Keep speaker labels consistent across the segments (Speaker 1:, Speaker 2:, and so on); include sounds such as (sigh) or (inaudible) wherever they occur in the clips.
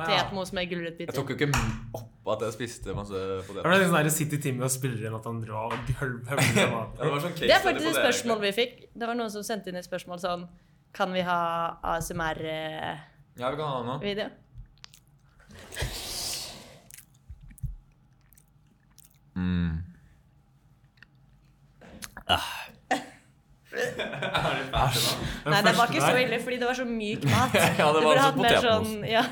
Speaker 1: Potetmos med
Speaker 2: Jeg
Speaker 1: gulrøttbiter.
Speaker 2: tok jo ikke opp at jeg spiste masse
Speaker 3: Det var
Speaker 2: poteter.
Speaker 3: liksom der sitte i timen og spille inn at han drar og
Speaker 1: (laughs)
Speaker 3: høvler
Speaker 2: Ja, det
Speaker 3: maten.
Speaker 2: var sånn case
Speaker 1: Det er
Speaker 2: study
Speaker 1: faktisk et
Speaker 2: på det, egentlig.
Speaker 1: spørsmål vi fikk. Det var noen som sendte inn et spørsmål sånn Kan vi ha ASMR-video?
Speaker 2: Ja, vi kan ha noe.
Speaker 1: Nei, det var
Speaker 3: første
Speaker 1: ikke så
Speaker 3: der.
Speaker 1: ille, fordi det var så myk mat.
Speaker 2: (laughs) Ja, det
Speaker 1: Du
Speaker 2: var
Speaker 1: burde
Speaker 2: sånn
Speaker 1: hatt mer
Speaker 2: potetmos.
Speaker 1: sånn ja.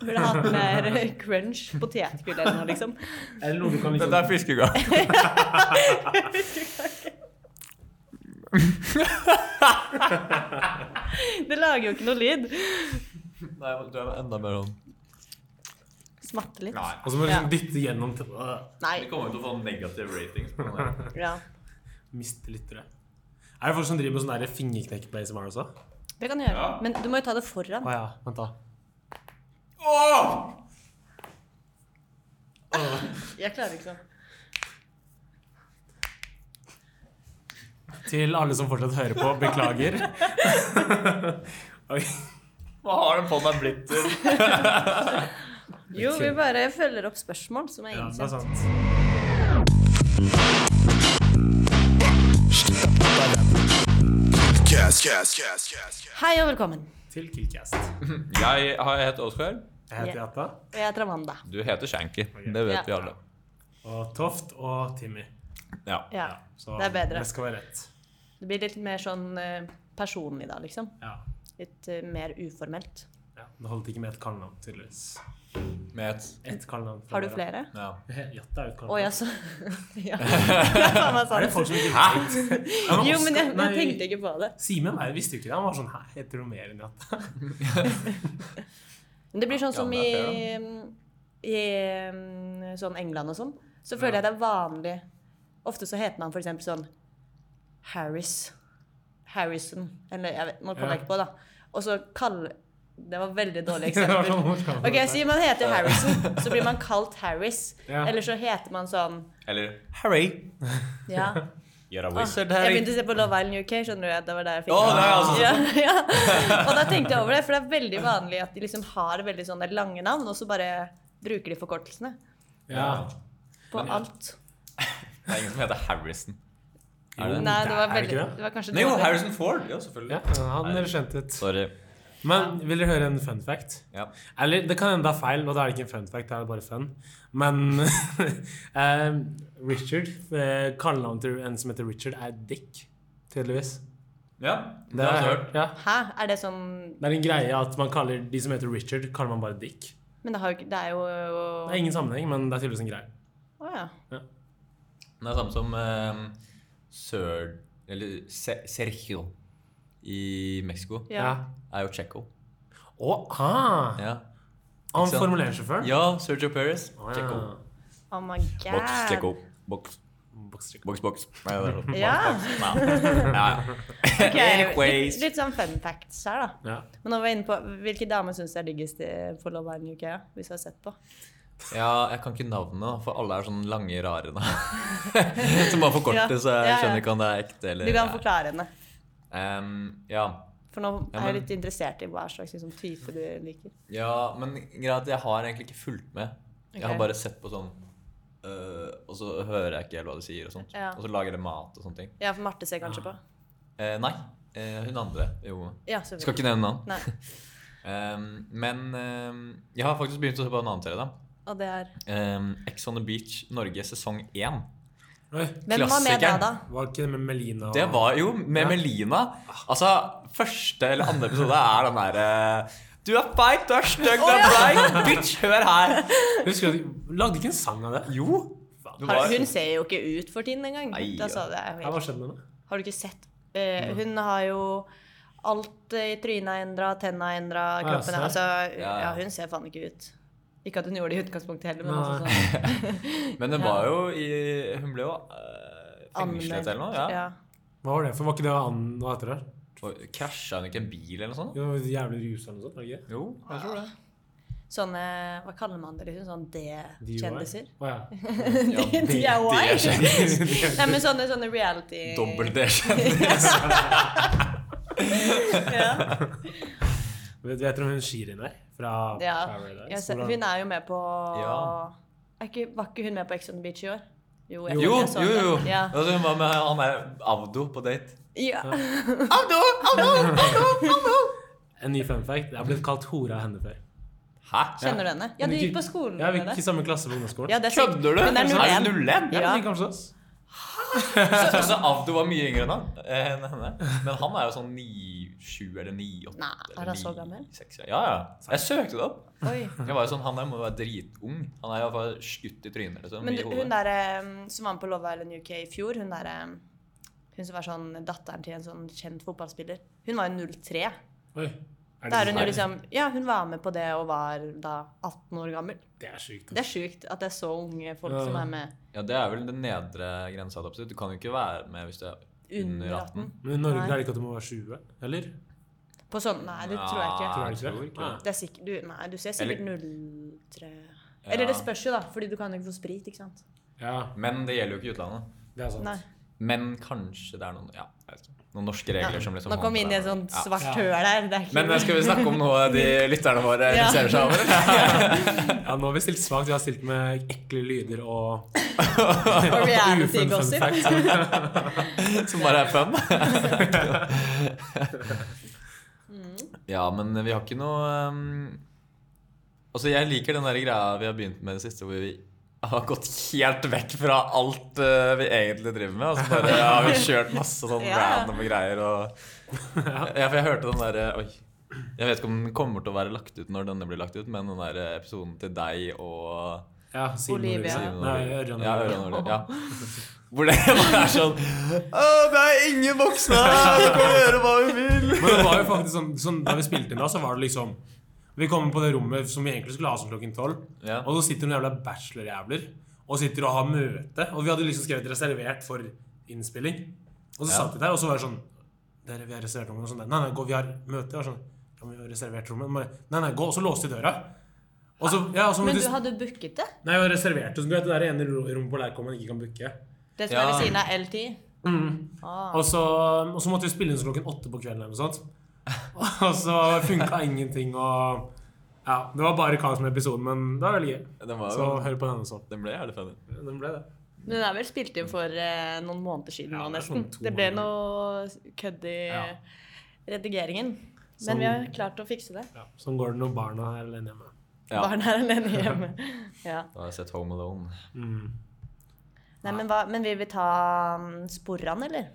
Speaker 1: Du Burde hatt mer crunch potetgull eller noe, liksom.
Speaker 3: Eller noe du kan
Speaker 2: Dette er
Speaker 3: liksom
Speaker 2: fiskekake.
Speaker 1: Det lager jo ikke noe lyd.
Speaker 2: (laughs) Nei, du er enda mer sånn
Speaker 1: Smatte litt.
Speaker 2: Nei.
Speaker 3: Og så må du liksom dytte gjennom til å øh,
Speaker 1: Nei.
Speaker 2: Vi kommer jo til å få negative ratings på den her.
Speaker 1: Ja.
Speaker 3: miste lyttere. Er det folk som driver med sånn der fingerknekk på ASMR også?
Speaker 1: Det kan du gjøre.
Speaker 2: Ja.
Speaker 1: Men du må jo ta det foran.
Speaker 3: Å ja, vent da.
Speaker 2: Åh!
Speaker 1: Jeg klarer ikke sånn.
Speaker 3: Til alle som fortsatt hører på, (laughs) beklager. Oi.
Speaker 2: Hva har den på meg blitt til?
Speaker 1: Jo, vi bare følger opp spørsmål som er
Speaker 3: Ja, det er
Speaker 1: innsendt.
Speaker 3: sant.
Speaker 4: Cast, cast, cast, cast, cast.
Speaker 1: Hei og velkommen.
Speaker 3: Til Killcast.
Speaker 2: Jeg har- jeg heter Oskar.
Speaker 3: Jeg heter
Speaker 1: Ja.
Speaker 3: Jata.
Speaker 1: Og jeg heter Amanda.
Speaker 2: Du heter Shanky. Det vet
Speaker 1: Ja.
Speaker 2: vi alle.
Speaker 3: Og Toft og Timmy.
Speaker 2: Ja.
Speaker 1: Ja.
Speaker 3: Så
Speaker 1: Det er bedre.
Speaker 3: Det skal være rett.
Speaker 1: Det blir litt mer sånn eh, personlig da, liksom.
Speaker 3: Ja.
Speaker 1: Litt eh, mer uformelt.
Speaker 3: ja. Det holdt ikke med et kallenavn, tydeligvis.
Speaker 2: Med et
Speaker 3: Et kallenavn. fra
Speaker 1: Har du
Speaker 3: hver av-
Speaker 1: flere?
Speaker 2: ja.
Speaker 3: Jatta er jo
Speaker 1: Å,
Speaker 3: et kallenavn.
Speaker 1: jeg så (laughs)
Speaker 3: (laughs)
Speaker 1: Ja. Faen meg sa
Speaker 3: Er det
Speaker 1: det.
Speaker 3: folk som ikke
Speaker 2: Hæ?
Speaker 1: Jo, men jeg,
Speaker 3: Nei.
Speaker 1: jeg tenkte ikke på det.
Speaker 3: Simen jeg visste jo ikke det. Han var sånn Hæ, heter du mer enn Jatta?
Speaker 1: Men det blir sånn
Speaker 2: Ja,
Speaker 1: som
Speaker 2: men
Speaker 1: i,
Speaker 2: det er
Speaker 1: i mm, sånn England og sånn. Så føler jeg det er vanlig. Ofte så heter man for eksempel sånn Harris. Harrison. Eller jeg vet, nå kommer jeg
Speaker 3: Ja.
Speaker 1: ikke på, da. Og så kall... Det var veldig
Speaker 3: (laughs)
Speaker 1: dårlig
Speaker 3: Det
Speaker 1: eksempel.
Speaker 3: var sånn hun kalte
Speaker 1: Ok,
Speaker 3: det.
Speaker 1: Si man heter Harrison, så blir
Speaker 3: (laughs)
Speaker 1: man kalt Harris.
Speaker 3: Ja.
Speaker 1: Eller så heter man sånn
Speaker 2: Eller Harry.
Speaker 1: Ja.
Speaker 2: You're a
Speaker 1: Ah, jeg
Speaker 2: wizard, Harry.
Speaker 1: begynte å se på Love Island UK, skjønner du. at Det var der jeg fikk
Speaker 2: Å, det er altså
Speaker 1: ja, (laughs) ja. Og da tenkte jeg over det, for det er veldig vanlig at de liksom har veldig sånne lange navn, og så bare bruker de forkortelsene
Speaker 3: Ja.
Speaker 1: på alt.
Speaker 2: Det er ingen som heter Harrison. Er det?
Speaker 1: Nei, det var
Speaker 3: er det
Speaker 1: veldig
Speaker 3: ikke det?
Speaker 1: Det var kanskje
Speaker 2: Nei, jo,
Speaker 1: dårlig.
Speaker 2: Harrison Ford. Ja, selvfølgelig.
Speaker 3: Ja, han skjønte ut.
Speaker 2: Sorry.
Speaker 3: Men vil dere høre en fun fact?
Speaker 2: Ja.
Speaker 3: Eller det kan hende det er feil, og da er det ikke en fun fact, da er det bare fun. Men (laughs) eh, Richard, eh, kallenavnet til en som heter Richard, er Dick. Tydeligvis.
Speaker 2: ja det har jeg hørt.
Speaker 3: Ja.
Speaker 1: Hæ? Er det sånn
Speaker 3: Det er en greie at man kaller de som heter Richard, kaller man bare Dick.
Speaker 1: Men det, har jo ikke, det er jo
Speaker 3: Det er ingen sammenheng, men det er tydeligvis en greie.
Speaker 1: Å ja.
Speaker 2: Det er samme som eh, Sir Eller Se Sergio i Mexico.
Speaker 1: ja.
Speaker 2: Er jo Checo.
Speaker 3: Å, ah!
Speaker 2: Ja.
Speaker 3: Han
Speaker 2: sant?
Speaker 3: formulersjåføren?
Speaker 2: ja, Sergio Perez. Checo.
Speaker 1: Oh my god.
Speaker 2: Boks, Checo. Boks, boks, boks. Nei, det er
Speaker 1: (laughs)
Speaker 2: sånn.
Speaker 1: Ja.
Speaker 2: Nei. Ja.
Speaker 1: ok.
Speaker 2: Anyways.
Speaker 1: Litt, litt sånn fun facts her, da.
Speaker 3: Ja.
Speaker 1: Men nå var jeg inne på hvilke damer syns det er diggest i- på Love Island UK, ja, hvis du har sett på?
Speaker 2: ja, jeg kan ikke navnet, da, for alle er sånn lange, rare
Speaker 1: (laughs)
Speaker 2: nå. Som bare forkorter, så
Speaker 1: Ja,
Speaker 2: jeg
Speaker 1: ja.
Speaker 2: skjønner ikke om det er ekte
Speaker 1: Du
Speaker 2: eller
Speaker 1: kan forklare henne.
Speaker 2: Ehm, ja.
Speaker 1: For nå
Speaker 2: Ja,
Speaker 1: er jeg
Speaker 2: men-
Speaker 1: litt interessert i hva slags liksom, type du liker.
Speaker 2: ja, men greia er at jeg har egentlig ikke fulgt med. Jeg
Speaker 1: Ok.
Speaker 2: har bare sett på sånn øh, Og så hører jeg ikke helt hva de sier, og sånt.
Speaker 1: Ja.
Speaker 2: Og så lager de mat og sånne ting.
Speaker 1: Ja, for Marte ser kanskje på.
Speaker 2: Eh, nei. eh, hun andre. Jo.
Speaker 1: Ja, så
Speaker 2: Skal ikke nevne navn.
Speaker 1: Nei.
Speaker 2: (laughs) Ehm, men ehm, jeg har faktisk begynt å se på en annen serie. da
Speaker 1: Og det er
Speaker 2: Ehm, Ex on the Beach Norge sesong 1.
Speaker 3: Oi,
Speaker 1: Hvem var med da,
Speaker 2: Klassikeren.
Speaker 1: da?
Speaker 3: var ikke det med Melina? og-
Speaker 2: Det var jo med
Speaker 3: Ja.
Speaker 2: Melina. Altså, første eller andre episode er den derre Du er feit, du er stygg, du er bleik, bitch, hør her.
Speaker 3: Husker du, Lagde ikke en sang av det?
Speaker 2: Jo. Det
Speaker 1: Har,
Speaker 2: var,
Speaker 1: hun ser jo ikke ut for tiden engang.
Speaker 2: Nei,
Speaker 1: Da
Speaker 2: ja. Mm.
Speaker 1: sa det jeg
Speaker 3: Ja,
Speaker 1: jo
Speaker 3: Hva
Speaker 1: helt.
Speaker 3: skjedde med det?
Speaker 1: Har du ikke sett eh, Hun har jo alt eh, i trynet endra, tenna endra, kroppen
Speaker 3: Ja,
Speaker 1: Altså,
Speaker 3: ser.
Speaker 2: Ja.
Speaker 1: ja, hun ser faen ikke ut. Ikke at hun gjorde det i utgangspunktet heller, men altså
Speaker 2: (laughs)
Speaker 1: sånn
Speaker 2: men hun var jo i Hun ble jo eh, fengslet eller noe. Ja.
Speaker 1: Ja.
Speaker 3: Hva var det? For var ikke det an... Hva heter det?
Speaker 2: Og Krasja hun ikke en bil eller noe sånt?
Speaker 3: Jo, jævlig rusa eller noe sånt? var det ikke?
Speaker 2: Jo, jeg tror det.
Speaker 1: Sånne Hva kaller man det? Liksom, sånn
Speaker 3: DUI?
Speaker 1: D-kjendiser?
Speaker 3: Å
Speaker 1: (laughs)
Speaker 3: ja.
Speaker 2: Ja,
Speaker 1: DIY?
Speaker 2: det er (laughs)
Speaker 1: Nei, men sånne, sånne reality (laughs)
Speaker 2: Dobbel D-kjendis.
Speaker 1: Ja.
Speaker 3: (laughs) Vet vet dere om hun Shirin er? Fra
Speaker 1: Ja.
Speaker 3: Paradise?
Speaker 1: Jeg ser,
Speaker 3: Hvordan-
Speaker 1: hun er jo med på
Speaker 2: Ja.
Speaker 1: er ikke, Var ikke hun med på Ex on the Beach i år? Jo, jeg,
Speaker 2: Jo,
Speaker 1: tror jeg så
Speaker 2: jo, jo.
Speaker 1: det. Ja.
Speaker 2: Altså, hun var med han der Avdo på date.
Speaker 1: Ja.
Speaker 2: Avdo! Avdo! Avdo!
Speaker 3: En ny fun fact. Jeg har blitt kalt hore av henne før.
Speaker 2: Hæ?
Speaker 1: Kjenner du henne? Ja,
Speaker 3: Men
Speaker 1: du gikk
Speaker 3: ikke-
Speaker 1: på skolen
Speaker 3: Ja, vi
Speaker 1: med
Speaker 3: gikk i
Speaker 1: det.
Speaker 3: samme klasse på ungdomsskolen.
Speaker 1: Ja, det er sikkert-
Speaker 2: Kødder du?
Speaker 1: Hun er
Speaker 2: Er du
Speaker 1: 01.
Speaker 2: 01? (laughs)
Speaker 1: Ja.
Speaker 3: Jeg kanskje oss.
Speaker 2: Altså, Avdo var mye yngre enn han. eh, enn henne. Men han er jo sånn 9-7 eller 9-8.
Speaker 1: Nei, er han så gammel?
Speaker 2: Ja, ja. Jeg søkte det opp.
Speaker 1: Oi.
Speaker 2: Jeg var jo sånn, Han der må være dritung. Han er jo bare skutt i trynet. liksom,
Speaker 1: Men
Speaker 2: i
Speaker 1: du,
Speaker 2: hodet.
Speaker 1: hun der eh, som var med på Love Island UK i fjor, hun der eh, Hun som var sånn datteren til en sånn kjent fotballspiller, hun var jo 03.
Speaker 3: Oi. Er
Speaker 1: Da er hun jo
Speaker 3: sant?
Speaker 1: liksom Ja, hun var med på det og var da 18 år gammel.
Speaker 3: Det er sjukt.
Speaker 1: Det er sjukt at det er så unge folk
Speaker 3: Ja.
Speaker 1: som er med
Speaker 2: Ja, Det er vel den nedre grensa. da, absolutt. Du kan jo ikke være med hvis du er
Speaker 1: under 18.
Speaker 3: Men i Norge
Speaker 1: Nei.
Speaker 3: er det ikke at du må være 20, eller?
Speaker 1: På sånn Nei, det tror jeg
Speaker 2: Nei.
Speaker 1: ikke.
Speaker 3: Tror du
Speaker 2: Jeg
Speaker 3: ikke
Speaker 2: tror
Speaker 3: det?
Speaker 2: ikke det.
Speaker 1: Det er sikk- du, nei, du ser sikkert 03
Speaker 2: Ja.
Speaker 1: Eller det spørs jo, da, fordi du kan jo ikke få sprit, ikke sant?
Speaker 3: Ja,
Speaker 2: Men det gjelder jo ikke i utlandet.
Speaker 3: det er sant.
Speaker 1: Nei.
Speaker 2: Men kanskje det er noen ja, jeg vet ikke, noen norske
Speaker 1: Ja.
Speaker 2: regler som liksom
Speaker 1: Nå kom vi inn i et sånt
Speaker 2: Ja.
Speaker 1: svart
Speaker 3: Ja.
Speaker 1: høl her. Det er ikke
Speaker 2: Men eh, skal vi snakke om noe de lytterne våre
Speaker 1: Ja.
Speaker 2: interesserer seg
Speaker 1: (laughs)
Speaker 2: over? eller?
Speaker 3: Ja, nå har vi stilt svakt. Vi har stilt med ekle lyder
Speaker 1: (laughs) Og
Speaker 3: og ufun fun
Speaker 1: reality-gossip.
Speaker 3: facts.
Speaker 2: Som bare er fun?
Speaker 1: Mm.
Speaker 2: ja, men vi har ikke noe ehm, Altså, jeg liker den der greia vi har begynt med i det siste, hvor vi har gått helt vekk fra alt eh, vi egentlig driver med. Og så bare har vi kjørt masse sånn
Speaker 1: Ja.
Speaker 2: random greier og Ja, for jeg hørte den derre Oi. Jeg vet ikke om den kommer til å være lagt ut når denne blir lagt ut, men den der eh, episoden til deg og
Speaker 3: Ja, Simen
Speaker 1: Olivia.
Speaker 3: Olivia.
Speaker 2: Simen
Speaker 3: Nei,
Speaker 2: Olivia.
Speaker 3: Ørjan
Speaker 2: Ja,
Speaker 3: Olivia.
Speaker 2: Ørjan Olivia,
Speaker 3: (laughs)
Speaker 2: ja. Hvor det bare er sånn Å, det er ingen voksne her! Du kan gjøre hva du vil!
Speaker 3: Men det var jo faktisk sånn, sånn Da vi spilte inn da, så var det liksom Vi kommer på det rommet som vi egentlig skulle ha som klokken tolv.
Speaker 2: Ja.
Speaker 3: Og så sitter noen jævla bachelorjævler og sitter og har møte. Og vi hadde liksom skrevet 'reservert for innspilling'. Og så
Speaker 2: Ja.
Speaker 3: satt vi der, og så var det sånn Dere, vi har reservert rommet. Og sånn, nei, nei, gå, vi har møte. Og sånn, ja, men vi har reservert rommet. Men, nei, nei, gå. Og så låste de døra. Og så, ja, og så
Speaker 1: Men
Speaker 3: måtte
Speaker 1: du
Speaker 3: vi-
Speaker 1: hadde booket det?
Speaker 3: Nei, jeg har reservert oss. Du vet det der ene ro- rommet på Leirkom man ikke kan booke.
Speaker 1: Det som
Speaker 2: Ja.
Speaker 1: er ved siden av LT? Ah.
Speaker 3: Og så, og så måtte vi spille inn så klokken åtte på kvelden eller noe sånt. (laughs) Og så funka ingenting og Ja, det var bare kaos med episoden, men det var veldig gøy.
Speaker 2: Den, var
Speaker 3: Så
Speaker 2: jo,
Speaker 3: hør på denne sånn.
Speaker 2: den ble jævlig funny.
Speaker 3: Den ble det.
Speaker 1: Men den er vel spilt inn for eh, noen måneder siden
Speaker 3: Ja,
Speaker 1: nå,
Speaker 3: det er
Speaker 1: nesten.
Speaker 3: sånn to
Speaker 1: Det ble
Speaker 3: måneder.
Speaker 1: noe kødd i
Speaker 3: Ja.
Speaker 1: redigeringen.
Speaker 3: Sånn-
Speaker 1: Men vi har klart å fikse det.
Speaker 3: Ja, sånn går det når barna er alene hjemme.
Speaker 2: Ja.
Speaker 1: Barn er alene hjemme.
Speaker 3: (laughs)
Speaker 1: Ja.
Speaker 2: Da har jeg sett Home Alone.
Speaker 3: Mm.
Speaker 1: Nei, men, hva, men vil vi ta mm, sporene, eller?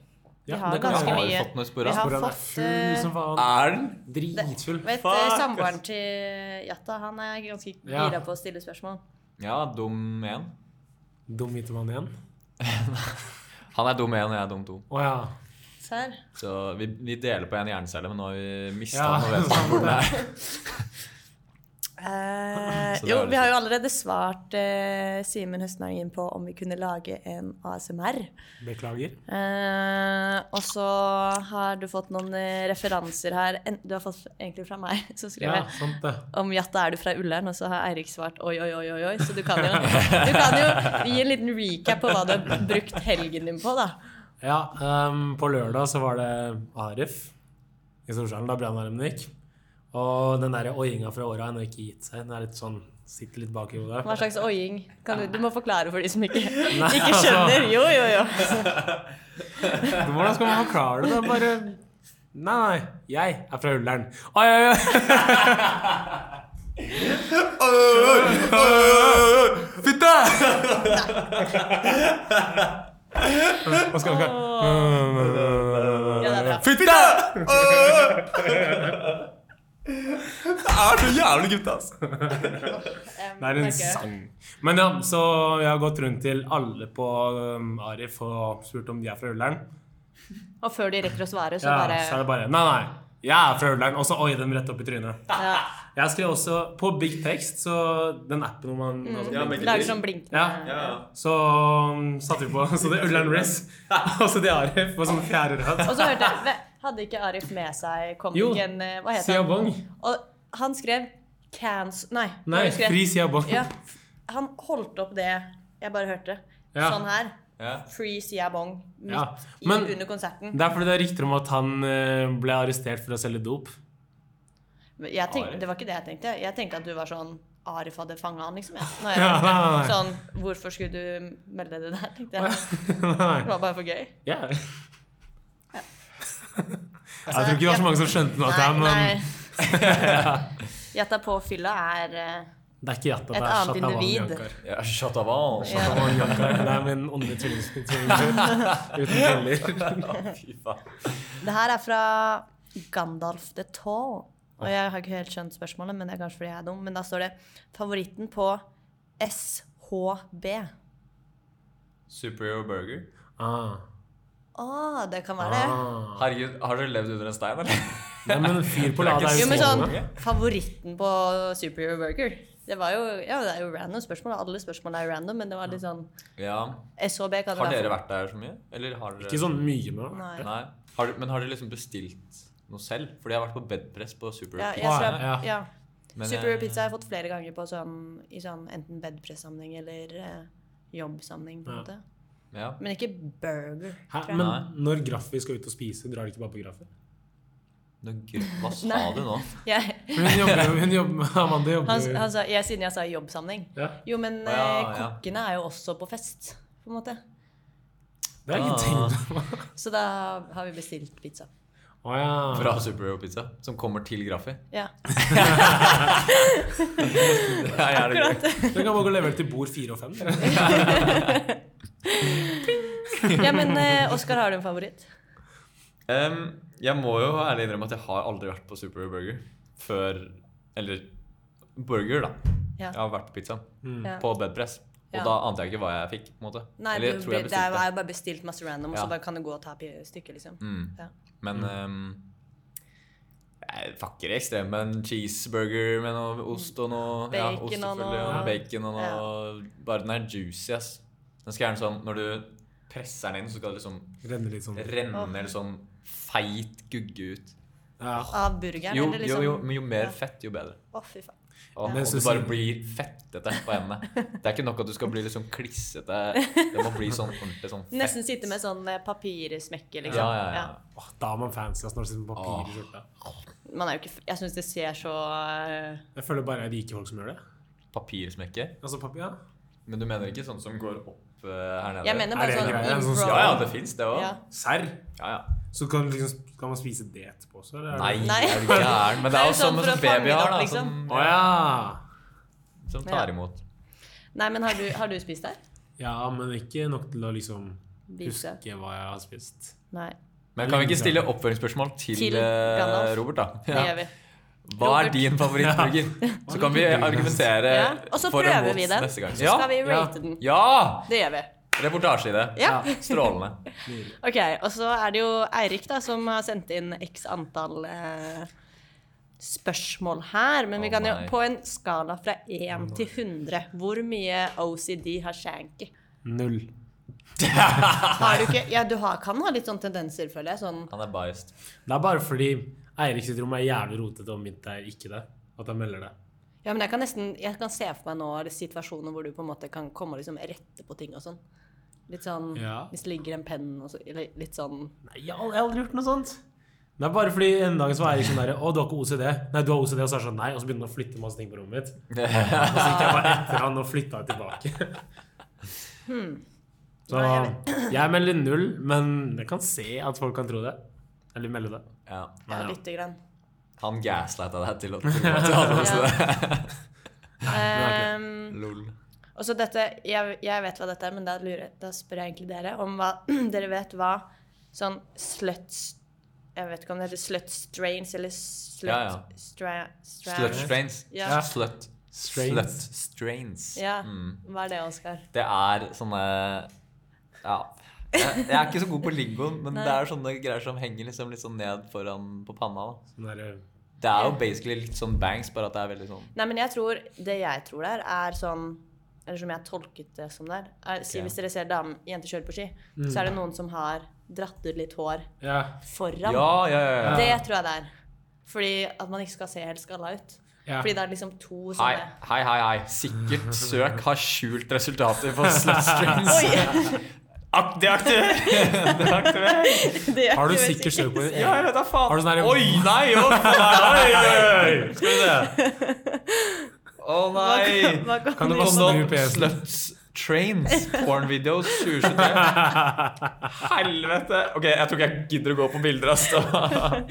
Speaker 1: Vi
Speaker 3: Ja,
Speaker 1: har
Speaker 3: det kan vi
Speaker 1: ganske
Speaker 2: Har
Speaker 3: gjøre.
Speaker 2: vi
Speaker 1: mye.
Speaker 2: fått noe spor av?
Speaker 1: Vi har
Speaker 3: Hvordan er
Speaker 1: fått,
Speaker 3: full
Speaker 1: eh,
Speaker 3: som faen.
Speaker 2: Er den?
Speaker 3: Dritfull.
Speaker 1: Vet,
Speaker 2: Fuck,
Speaker 1: eh,
Speaker 2: ass.
Speaker 1: Samboeren til Jatta han er ganske
Speaker 3: Ja.
Speaker 1: gira på å stille spørsmål.
Speaker 2: Ja, dum én.
Speaker 3: Dum vitemann igjen.
Speaker 2: Han er dum én, og jeg er dum to.
Speaker 3: Å ja.
Speaker 1: Serr?
Speaker 2: Så vi, vi deler på en hjernecelle, men nå har vi mista
Speaker 3: Ja,
Speaker 2: han og vet
Speaker 3: sant
Speaker 2: hvor den
Speaker 3: (laughs)
Speaker 2: er.
Speaker 1: Eh,
Speaker 2: Så det
Speaker 1: jo,
Speaker 2: er
Speaker 1: vi har jo
Speaker 2: liksom-
Speaker 1: allerede svart eh, Simen Høstnagen på om vi kunne lage en ASMR.
Speaker 3: Beklager.
Speaker 1: Eh, og så har du fått noen eh, referanser her. En, du har fått egentlig fra meg, (laughs) som skrev
Speaker 3: Ja,
Speaker 1: jeg,
Speaker 3: sant det.
Speaker 1: om Jatta er du fra Ullern, og så har Eirik svart oi, oi, oi, oi, oi. Så du kan
Speaker 2: (laughs)
Speaker 1: jo, du kan jo gi en liten recap på hva du har brukt helgen din på, da.
Speaker 3: Ja, ehm, på lørdag så var det Arif i Storsalen, da brannalarmen gikk. Og den der oiinga fra åra har ennå ikke gitt seg. Den er litt sånn, sitter litt bak i hodet.
Speaker 1: Hva slags oiing? Kan du, du må forklare for de som
Speaker 3: (laughs)
Speaker 1: ikke, ikke
Speaker 3: altså.
Speaker 1: skjønner. Jo, jo, jo.
Speaker 3: Men Hvordan skal man forklare det? Det er bare Nei, nei, jeg er fra Ullern. Oi, oi, oi! Fitte! Hva skal vi Mm. (laughs)
Speaker 1: Ja, det er bra.
Speaker 3: Fitte!
Speaker 2: (laughs) Det er så jævlig gutt, ass!
Speaker 3: Det er en sang. Men ja, så jeg har gått rundt til alle på um, Arif og spurt om de er fra Ullern.
Speaker 1: Og før de rekker å svare, så
Speaker 3: Ja,
Speaker 1: bare
Speaker 3: så er det bare Nei, nei, jeg er fra Ullern. Og så oi dem rett opp i trynet.
Speaker 1: ja,
Speaker 3: Jeg skrev også på Big Text, så den appen hvor man
Speaker 2: Ja, men-
Speaker 1: lager sånn blinkende
Speaker 3: Ja.
Speaker 2: Ja.
Speaker 3: Så um, satte
Speaker 1: (laughs)
Speaker 3: vi på så det er Ullern Riz og så det er Arif på sånn fjerde
Speaker 1: Og
Speaker 3: rad.
Speaker 1: så hørte jeg ve- Hadde ikke Arif med seg
Speaker 3: Jo,
Speaker 1: komikeren eh, Hva het han?
Speaker 3: Siabong.
Speaker 1: Og han skrev cans... Nei.
Speaker 3: Nei,
Speaker 1: han skrev-
Speaker 3: Fri Siabong.
Speaker 1: Ja, han holdt opp det jeg bare hørte.
Speaker 3: Ja.
Speaker 1: Sånn her.
Speaker 2: Ja.
Speaker 1: Free Siabong midt
Speaker 3: Ja,
Speaker 1: i-
Speaker 3: men-
Speaker 1: under konserten.
Speaker 3: Det er fordi det er rykter om at han eh, ble arrestert for å selge dop.
Speaker 1: Men Jeg tenk,
Speaker 2: Arif?
Speaker 1: det var ikke det jeg tenkte. Jeg tenkte at du var sånn Arif hadde fanga han, liksom. Jeg.
Speaker 3: (laughs)
Speaker 1: Når jeg,
Speaker 3: Ja, nei, nei.
Speaker 1: sånn Hvorfor skulle du melde det der, tenkte jeg.
Speaker 3: (laughs)
Speaker 1: Det
Speaker 3: (laughs) Nei.
Speaker 1: var bare for gøy.
Speaker 3: Ja. (laughs) jeg tror ikke det var så mange som skjønte noe av det, her,
Speaker 1: Nei,
Speaker 3: (laughs) men
Speaker 1: nei. Jatta på fylla er eh,
Speaker 3: det er ikke jatta.
Speaker 1: Et
Speaker 3: Det er
Speaker 1: annet
Speaker 3: Shatavan
Speaker 1: individ.
Speaker 3: Jankar.
Speaker 2: Ja, shut up, all.
Speaker 1: ja.
Speaker 3: Shatavan Jankar. Det er min åndelige
Speaker 1: (laughs)
Speaker 3: tvillingsbror uten teller.
Speaker 2: Ja, (laughs) fy faen.
Speaker 1: Det her er fra Gandalf the Tall. Og jeg har ikke helt skjønt spørsmålet, men det er kanskje fordi jeg er dum. Men da står det favoritten på SHB.
Speaker 2: Superior burger.
Speaker 3: Ah,
Speaker 1: Å, det kan være det.
Speaker 3: ah.
Speaker 2: Herregud, har dere levd under en stein, eller?
Speaker 3: Nei, men fyr på lada er
Speaker 1: Jo,
Speaker 3: jo
Speaker 1: men sånn,
Speaker 3: strålende.
Speaker 1: favoritten på Superior Burger Det var jo, ja, det er jo random spørsmål. Alle spørsmål er jo random, men det var litt sånn
Speaker 2: Ja.
Speaker 1: SHB kan
Speaker 2: Har
Speaker 1: det
Speaker 2: dere
Speaker 1: være.
Speaker 2: vært der så mye? Eller har dere
Speaker 3: Ikke sånn mye med det.
Speaker 1: Nei.
Speaker 2: Nei. Har, du- men har dere liksom bestilt noe selv? Fordi jeg har vært på bedpress på Super
Speaker 1: Ja,
Speaker 2: Pizza.
Speaker 1: jeg tror jeg,
Speaker 3: Ja,
Speaker 1: ja.
Speaker 2: Men,
Speaker 1: Superior
Speaker 2: eh,
Speaker 1: Pizza har jeg fått flere ganger på sånn, i sånn enten bedpress-sammenheng eller eh, jobbsammenheng. på en
Speaker 3: Ja.
Speaker 1: måte.
Speaker 2: Ja.
Speaker 1: Men ikke burger.
Speaker 3: Hæ?
Speaker 1: tror jeg.
Speaker 3: Men
Speaker 2: Nei.
Speaker 3: når Graffi skal ut og spise, drar de ikke bare på Graffi?
Speaker 2: Nå, gud, hva sa
Speaker 1: Nei.
Speaker 2: du nå?
Speaker 1: Jeg,
Speaker 3: Hun jobber, hun jobber Amanda
Speaker 1: han,
Speaker 3: jobber jo
Speaker 1: han sa, jeg, siden jeg sa jobbsammenheng.
Speaker 3: ja.
Speaker 1: Jo, men
Speaker 2: Å, ja,
Speaker 1: eh,
Speaker 2: ja.
Speaker 1: kokkene er jo også på fest, på en måte.
Speaker 3: (laughs) Det er ikke
Speaker 2: Ah.
Speaker 3: tenkt over.
Speaker 1: Så da har vi bestilt pizza.
Speaker 3: Å ja.
Speaker 2: (laughs) Fra Superior Pizza, som kommer til Graffi. (laughs)
Speaker 1: Ja,
Speaker 2: Ja, jeg er det
Speaker 1: akkurat.
Speaker 3: Du kan bare gå og levere til bord fire og fem. dere.
Speaker 1: Ja, men eh, Oskar, har du en favoritt?
Speaker 2: Em, jeg må jo ærlig innrømme at jeg har aldri vært på Super Burger før Eller burger, da.
Speaker 1: Ja.
Speaker 2: Jeg har vært på pizza.
Speaker 1: Ja.
Speaker 2: Mm. På bedpress. Og
Speaker 1: Ja.
Speaker 2: da ante jeg ikke hva jeg fikk. på en måte
Speaker 1: Nei,
Speaker 2: Eller jeg
Speaker 1: du,
Speaker 2: tror
Speaker 1: det er
Speaker 2: jeg
Speaker 1: jo
Speaker 2: bestilte.
Speaker 1: jeg har bare bestilt masse random,
Speaker 2: Ja.
Speaker 1: så bare kan du gå og ta pi- stykket, liksom.
Speaker 2: Mm.
Speaker 1: Ja.
Speaker 2: Men ehm, em, jeg fucker i ekstrem med en cheeseburger med noe ost og noe ja,
Speaker 1: Bacon
Speaker 2: ost,
Speaker 1: og
Speaker 2: selvfølgelig,
Speaker 1: noe-
Speaker 2: og bacon og noe Bare den er juicy, ass. Den skal gjerne sånn Når du presser den inn, så skal det liksom
Speaker 3: Renner litt sånn.
Speaker 2: renne
Speaker 1: Åh.
Speaker 2: eller sånn feit gugge ut.
Speaker 3: Ja.
Speaker 1: Av burgeren,
Speaker 2: Jo,
Speaker 1: eller
Speaker 2: jo,
Speaker 1: liksom
Speaker 2: jo, men jo
Speaker 1: Ja.
Speaker 2: mer fett, jo bedre.
Speaker 1: Å, fy faen.
Speaker 2: Og,
Speaker 3: Men
Speaker 2: og
Speaker 3: så
Speaker 2: du bare
Speaker 3: sier-
Speaker 2: blir fettete på hendene. Det er ikke nok at du skal bli liksom klissete.
Speaker 1: (laughs)
Speaker 2: Det må bli sånn ordentlig sånn fett.
Speaker 1: Nesten sitte med sånn eh, papirsmekke, liksom.
Speaker 2: Ja, ja, ja.
Speaker 3: Åh, da er man fancy ass, når det sitter på
Speaker 2: Ah.
Speaker 3: papir i skjorta.
Speaker 1: Man er jo ikke f- Jeg syns det ser så eh,
Speaker 3: Jeg føler bare jeg liker folk som gjør det.
Speaker 2: Papirsmekke.
Speaker 3: Altså, papir, ja.
Speaker 2: Men du mener ikke sånn som går opp eh, her nede?
Speaker 1: Jeg mener
Speaker 3: Er
Speaker 1: bare
Speaker 3: det en
Speaker 1: sånn
Speaker 3: greie? En
Speaker 1: i raw-
Speaker 3: sånn-
Speaker 2: Ja, ja, det fins, det òg.
Speaker 1: Ja.
Speaker 3: Serr?
Speaker 2: Ja, ja.
Speaker 3: Så kan, du liksom, kan man spise det etterpå også? eller er det-
Speaker 2: Nei,
Speaker 1: Nei.
Speaker 2: er
Speaker 1: (laughs)
Speaker 2: du gæren? Men det
Speaker 1: Det er
Speaker 2: er
Speaker 1: jo
Speaker 2: jo
Speaker 1: sånn
Speaker 2: samme
Speaker 1: for å
Speaker 2: som
Speaker 1: fange det
Speaker 2: baby har,
Speaker 1: opp,
Speaker 2: da.
Speaker 1: liksom.
Speaker 2: Som,
Speaker 3: Å ja.
Speaker 2: som tar
Speaker 1: Ja.
Speaker 2: imot.
Speaker 1: Nei, men har du, har du spist der?
Speaker 3: Ja, men ikke nok til å liksom
Speaker 1: Vise.
Speaker 3: huske hva jeg har spist.
Speaker 1: Nei.
Speaker 2: Men kan vi ikke stille oppfølgingsspørsmål til,
Speaker 1: Til
Speaker 2: eh,
Speaker 1: Gandalf.
Speaker 2: Robert, da?
Speaker 1: Det gjør vi.
Speaker 2: Hva er din favorittburger? Så kan vi argumentere
Speaker 1: Ja. Og så
Speaker 2: for og
Speaker 1: prøver vi
Speaker 2: mot
Speaker 1: den.
Speaker 2: neste gang.
Speaker 1: Så skal vi rate den.
Speaker 2: Ja!
Speaker 1: Det gjør vi.
Speaker 2: Reportasje i det.
Speaker 1: Ja.
Speaker 2: Strålende.
Speaker 1: Ok, og så er det jo Eirik da, som har sendt inn x antall eh, spørsmål her. Men vi
Speaker 2: Å,
Speaker 1: kan jo
Speaker 2: nei.
Speaker 1: på en skala fra 1 til 100, hvor mye OCD har Shanky?
Speaker 3: Null.
Speaker 1: Har du ikke Ja, du har, kan ha litt sånne tendenser, føler jeg. Sånn
Speaker 2: Han er biased.
Speaker 3: Det er bare fordi Eirik sitt rom er jævlig rotete, og mitt er ikke det. At jeg melder det.
Speaker 1: Ja, men jeg kan nesten Jeg kan se for meg nå situasjoner hvor du på en måte kan komme og liksom rette på ting og sånn. Litt sånn
Speaker 3: Ja.
Speaker 1: Hvis det ligger en penn og så Eller litt sånn
Speaker 3: Nei, jeg har aldri- jeg har aldri gjort noe sånt. Det er bare fordi en dag så var Eirik sånn derre Å, du har ikke OCD? Nei, du har OCD, og så er det sånn nei, og så begynner han å flytte masse ting på rommet mitt. Og så gikk jeg bare etter han og flytta tilbake.
Speaker 1: Hmm.
Speaker 3: Så jeg melder null, men jeg kan se at folk kan tro det. Eller melde det.
Speaker 2: Ja.
Speaker 1: ja,
Speaker 3: Ja.
Speaker 1: lite grann.
Speaker 2: Han gaslighta deg til å tro
Speaker 1: (laughs)
Speaker 2: at du
Speaker 3: Altså,
Speaker 2: hadde lyst til det.
Speaker 3: (laughs)
Speaker 1: Ehm,
Speaker 2: Lol.
Speaker 1: Og så dette, jeg, jeg vet hva dette er, men da, lurer, da spør jeg egentlig dere om hva (clears throat) dere vet hva sånn slut Jeg vet ikke om det heter slut strains eller slut
Speaker 2: Ja, ja.
Speaker 1: Stra, stra,
Speaker 2: Slut strains.
Speaker 1: Ja.
Speaker 2: Slut. Slut
Speaker 3: Strains.
Speaker 2: strains.
Speaker 1: Ja.
Speaker 2: Mm.
Speaker 1: Hva er det, Oskar?
Speaker 2: Det er sånne Ja. Jeg jeg er ikke så god på lingoen, men det er sånne greier som henger liksom litt sånn ned foran på panna. Da.
Speaker 3: Sånn derre
Speaker 2: Det er jo basically litt sånn bangs, bare at det er veldig sånn
Speaker 1: Nei, men jeg tror Det jeg tror der, er sånn Eller som jeg tolket det som der er, si,
Speaker 2: Ok. Mm.
Speaker 1: Hvis dere ser dame, jenter kjøre på ski, så er det noen som har dratt ut litt hår
Speaker 3: Ja.
Speaker 1: foran.
Speaker 2: Ja, ja, ja. ja.
Speaker 1: Det tror jeg det er. Fordi at man ikke skal se helt skalla ut.
Speaker 3: Ja.
Speaker 1: Fordi det er liksom to
Speaker 2: Hei,
Speaker 1: sånne
Speaker 2: hei,
Speaker 1: (laughs)
Speaker 2: (laughs) hei. hei. Sikkert søk har skjult resultater på slut strains. Ak, det er aktuelt! (laughs) det er aktuelt.
Speaker 1: (laughs)
Speaker 3: Har du sikkert søkt på
Speaker 2: Ja, jeg vet da faen.
Speaker 3: Har du sånn her-
Speaker 2: Oi, nei, å faen, oi, oi, oi. Skal vi se.
Speaker 1: (laughs)
Speaker 2: Å nei.
Speaker 3: Kan du bare
Speaker 2: Kondom,
Speaker 3: snu PC-en?
Speaker 2: sluts, trains, porn videos 2023. Helvete. Ok, jeg tror ikke jeg gidder å gå på bilder, ass. (laughs) da.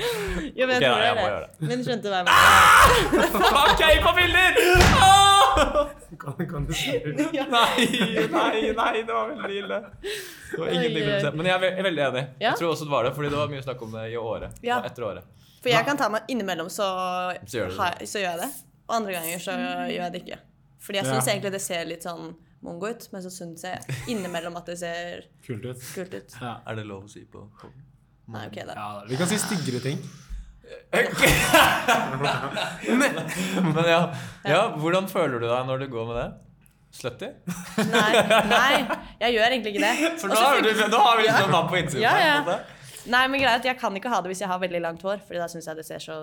Speaker 1: Jo, men jeg tror
Speaker 2: Ok, nei,
Speaker 1: det
Speaker 2: jeg må
Speaker 1: er
Speaker 2: gjøre
Speaker 1: det. Men skjønte du hva jeg mente?
Speaker 2: Ok, på bilder! Åh!
Speaker 3: Kan, kan du snu?
Speaker 2: Nei, nei, nei, det var veldig ille. Det var
Speaker 1: Oi,
Speaker 2: ingenting
Speaker 1: oi.
Speaker 2: som skjedde. Men jeg er ve- jeg er veldig enig.
Speaker 1: Ja.
Speaker 2: Jeg tror også det var det, fordi det var mye snakk om det i året.
Speaker 1: Ja.
Speaker 2: og Etter året.
Speaker 1: For jeg kan ta meg innimellom, så,
Speaker 2: Så gjør du det.
Speaker 1: har- så gjør jeg det. Og andre ganger så gjør jeg det ikke. Fordi jeg
Speaker 3: Ja.
Speaker 1: syns egentlig det ser litt sånn mongo ut, men så syns jeg innimellom at det ser
Speaker 3: Kult ut.
Speaker 1: kult ut.
Speaker 3: Ja.
Speaker 2: Er det lov å si på
Speaker 1: Nei, ok, da.
Speaker 3: ja, vi kan si styggere ting.
Speaker 2: (laughs) Men ja. ja, hvordan føler du deg når du går med det? Slutty?
Speaker 1: Nei, nei, jeg gjør egentlig ikke det.
Speaker 2: (laughs) For
Speaker 1: Og
Speaker 2: nå
Speaker 1: så
Speaker 2: har,
Speaker 1: fikk-
Speaker 2: du, nå har vi liksom en mann på innsiden.
Speaker 1: Ja, ja.
Speaker 2: på en måte.
Speaker 1: Nei, men greia er at jeg kan ikke ha det hvis jeg har veldig langt hår, Fordi da syns jeg det ser så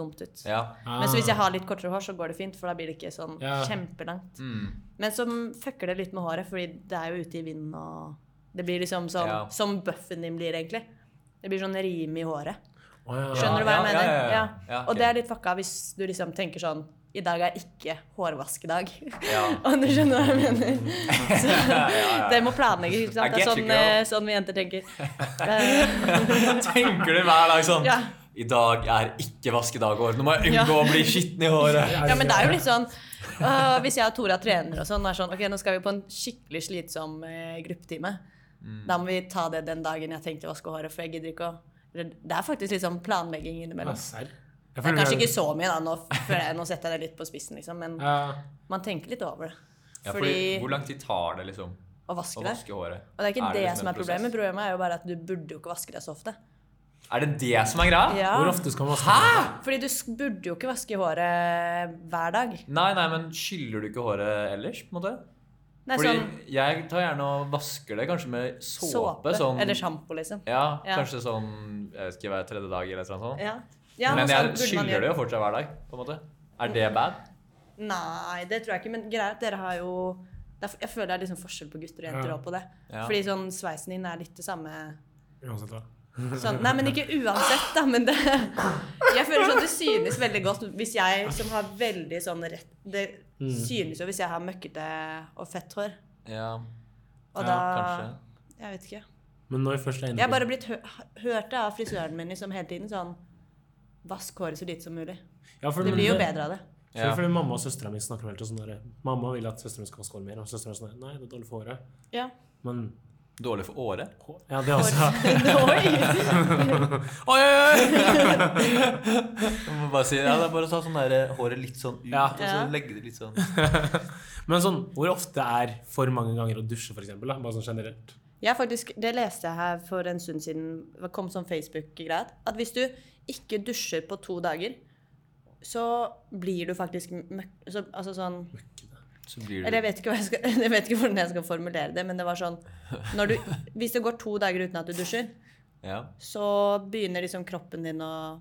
Speaker 1: dumt ut.
Speaker 2: ja.
Speaker 1: Men så hvis jeg har litt kortere hår, så går det fint, for da blir det ikke sånn
Speaker 3: Ah. Ja.
Speaker 1: kjempelangt.
Speaker 2: Mm.
Speaker 1: Men så fucker det litt med håret, fordi det er jo ute i vinden og Det blir liksom sånn
Speaker 2: Ja.
Speaker 1: som buffen din blir, egentlig. Det blir sånn rim i håret.
Speaker 3: Å, ja.
Speaker 1: Skjønner du hva jeg
Speaker 2: Ja, ja,
Speaker 1: mener?
Speaker 2: ja, ja. Ja, ok.
Speaker 1: Og det er litt fucka hvis du liksom tenker sånn I dag er ikke hårvaskedag.
Speaker 2: Ja.
Speaker 1: (laughs)
Speaker 2: (laughs)
Speaker 1: Om du skjønner hva jeg mener. Så det må planlegges. ikke
Speaker 2: I
Speaker 1: sant? Det er
Speaker 2: get you,
Speaker 1: sånn,
Speaker 2: girl.
Speaker 1: eh, sånn vi jenter tenker.
Speaker 2: (laughs)
Speaker 1: Eh,
Speaker 2: Tenker du hver dag sånn
Speaker 1: Ja.
Speaker 2: I dag er ikke vaskedag i år. Nå må jeg unngå
Speaker 1: Ja.
Speaker 2: å bli skitten i håret.
Speaker 1: Ja, men det er jo litt sånn øh, Hvis jeg og Tora trener og sånn, er sånn Ok, nå skal vi på en skikkelig slitsom eh, gruppetime.
Speaker 2: Mm.
Speaker 1: Da må vi ta det den dagen jeg tenkte å vaske håret, for jeg gidder ikke å eller, Det er faktisk litt sånn planlegging
Speaker 3: Ja,
Speaker 1: innimellom.
Speaker 3: serr. Jeg
Speaker 1: Det er
Speaker 3: føler
Speaker 1: kanskje
Speaker 3: vi-
Speaker 1: ikke så mye, da. Nå, føler jeg, nå setter jeg det litt på spissen, liksom. Men
Speaker 3: Ja.
Speaker 1: man tenker litt over det.
Speaker 2: Ja, fordi,
Speaker 1: fordi
Speaker 2: hvor lang tid tar det liksom
Speaker 1: å vaske
Speaker 2: å
Speaker 1: det.
Speaker 2: vaske håret?
Speaker 1: Og det er ikke det,
Speaker 2: liksom
Speaker 1: som
Speaker 2: en
Speaker 1: er problemet.
Speaker 2: prosess?
Speaker 1: Problemet er jo bare at du burde jo ikke vaske deg så ofte.
Speaker 2: Er det det som er greia?
Speaker 1: Ja.
Speaker 3: Hvor ofte skal man vaske?
Speaker 1: Fordi du sk- burde jo ikke vaske håret hver dag.
Speaker 2: Nei, nei, men skyller du ikke håret ellers? på en måte?
Speaker 1: Nei,
Speaker 2: Fordi
Speaker 1: sånn
Speaker 2: jeg tar gjerne og vasker det kanskje med såpe.
Speaker 1: såpe
Speaker 2: sånn,
Speaker 1: eller sjampo, liksom.
Speaker 2: Ja,
Speaker 1: Ja.
Speaker 2: Kanskje sånn jeg vet ikke, hver tredje dag eller et eller annet sånt.
Speaker 1: Ja. Ja, noe
Speaker 2: men jeg
Speaker 1: sånt burde man
Speaker 2: skyller
Speaker 1: gjøre.
Speaker 2: det jo fortsatt hver dag. på en måte. Er det bad?
Speaker 1: Nei, det tror jeg ikke. Men greia er at dere har jo det er- Jeg føler det er liksom forskjell på gutter og jenter
Speaker 3: Ja.
Speaker 1: også på det.
Speaker 2: Ja.
Speaker 1: Fordi sånn sveisen din er litt det samme
Speaker 3: Uansett hva.
Speaker 1: sånn, Nei, men ikke uansett, da, men det Jeg føler sånn det synes veldig godt hvis jeg som har veldig sånn rett Det synes jo hvis jeg har møkkete og fett hår.
Speaker 2: Ja,
Speaker 1: Og
Speaker 3: Ja,
Speaker 1: da
Speaker 2: kanskje.
Speaker 1: Jeg vet ikke.
Speaker 3: Men når først er
Speaker 1: Jeg har
Speaker 3: inne
Speaker 1: bare blitt hø hørt det av frisøren min liksom hele tiden sånn Vask håret så lite som mulig.
Speaker 3: ja, for-
Speaker 1: Det
Speaker 3: men
Speaker 1: blir jo bedre av det.
Speaker 3: For,
Speaker 2: Ja.
Speaker 3: fordi mamma og søstera mi snakker veldig sånn der Mamma vil at søstera mi skal vaske håret mer, og søstera sånn der, Nei, det er dårlig for håret.
Speaker 1: Ja.
Speaker 3: Men
Speaker 2: Dårlig for året?
Speaker 3: Ja, det er
Speaker 1: (laughs)
Speaker 2: Altså.
Speaker 3: også
Speaker 1: Oi!
Speaker 2: Oi, oi, oi! (laughs) Jeg må bare si, ja, det er bare å ta sånn der, eh, håret litt sånn ut,
Speaker 3: Ja.
Speaker 2: og så
Speaker 1: Ja.
Speaker 2: legge det litt sånn
Speaker 3: (laughs) Men sånn, hvor ofte er for mange ganger å dusje, for eksempel? Da? Bare sånn (laughs) generelt.
Speaker 1: Jeg faktisk, det leste jeg her for en stund siden, det kom sånn Facebook-greie, at hvis du ikke dusjer på to dager, så blir du faktisk møkk... Så, altså sånn
Speaker 2: Så blir
Speaker 1: Eller
Speaker 2: det
Speaker 1: jeg vet, ikke hva jeg, skal, (laughs) jeg vet ikke hvordan jeg skal formulere det, men det var sånn når du, Hvis det går to dager uten at du dusjer, (laughs)
Speaker 2: ja.
Speaker 1: så begynner liksom kroppen din å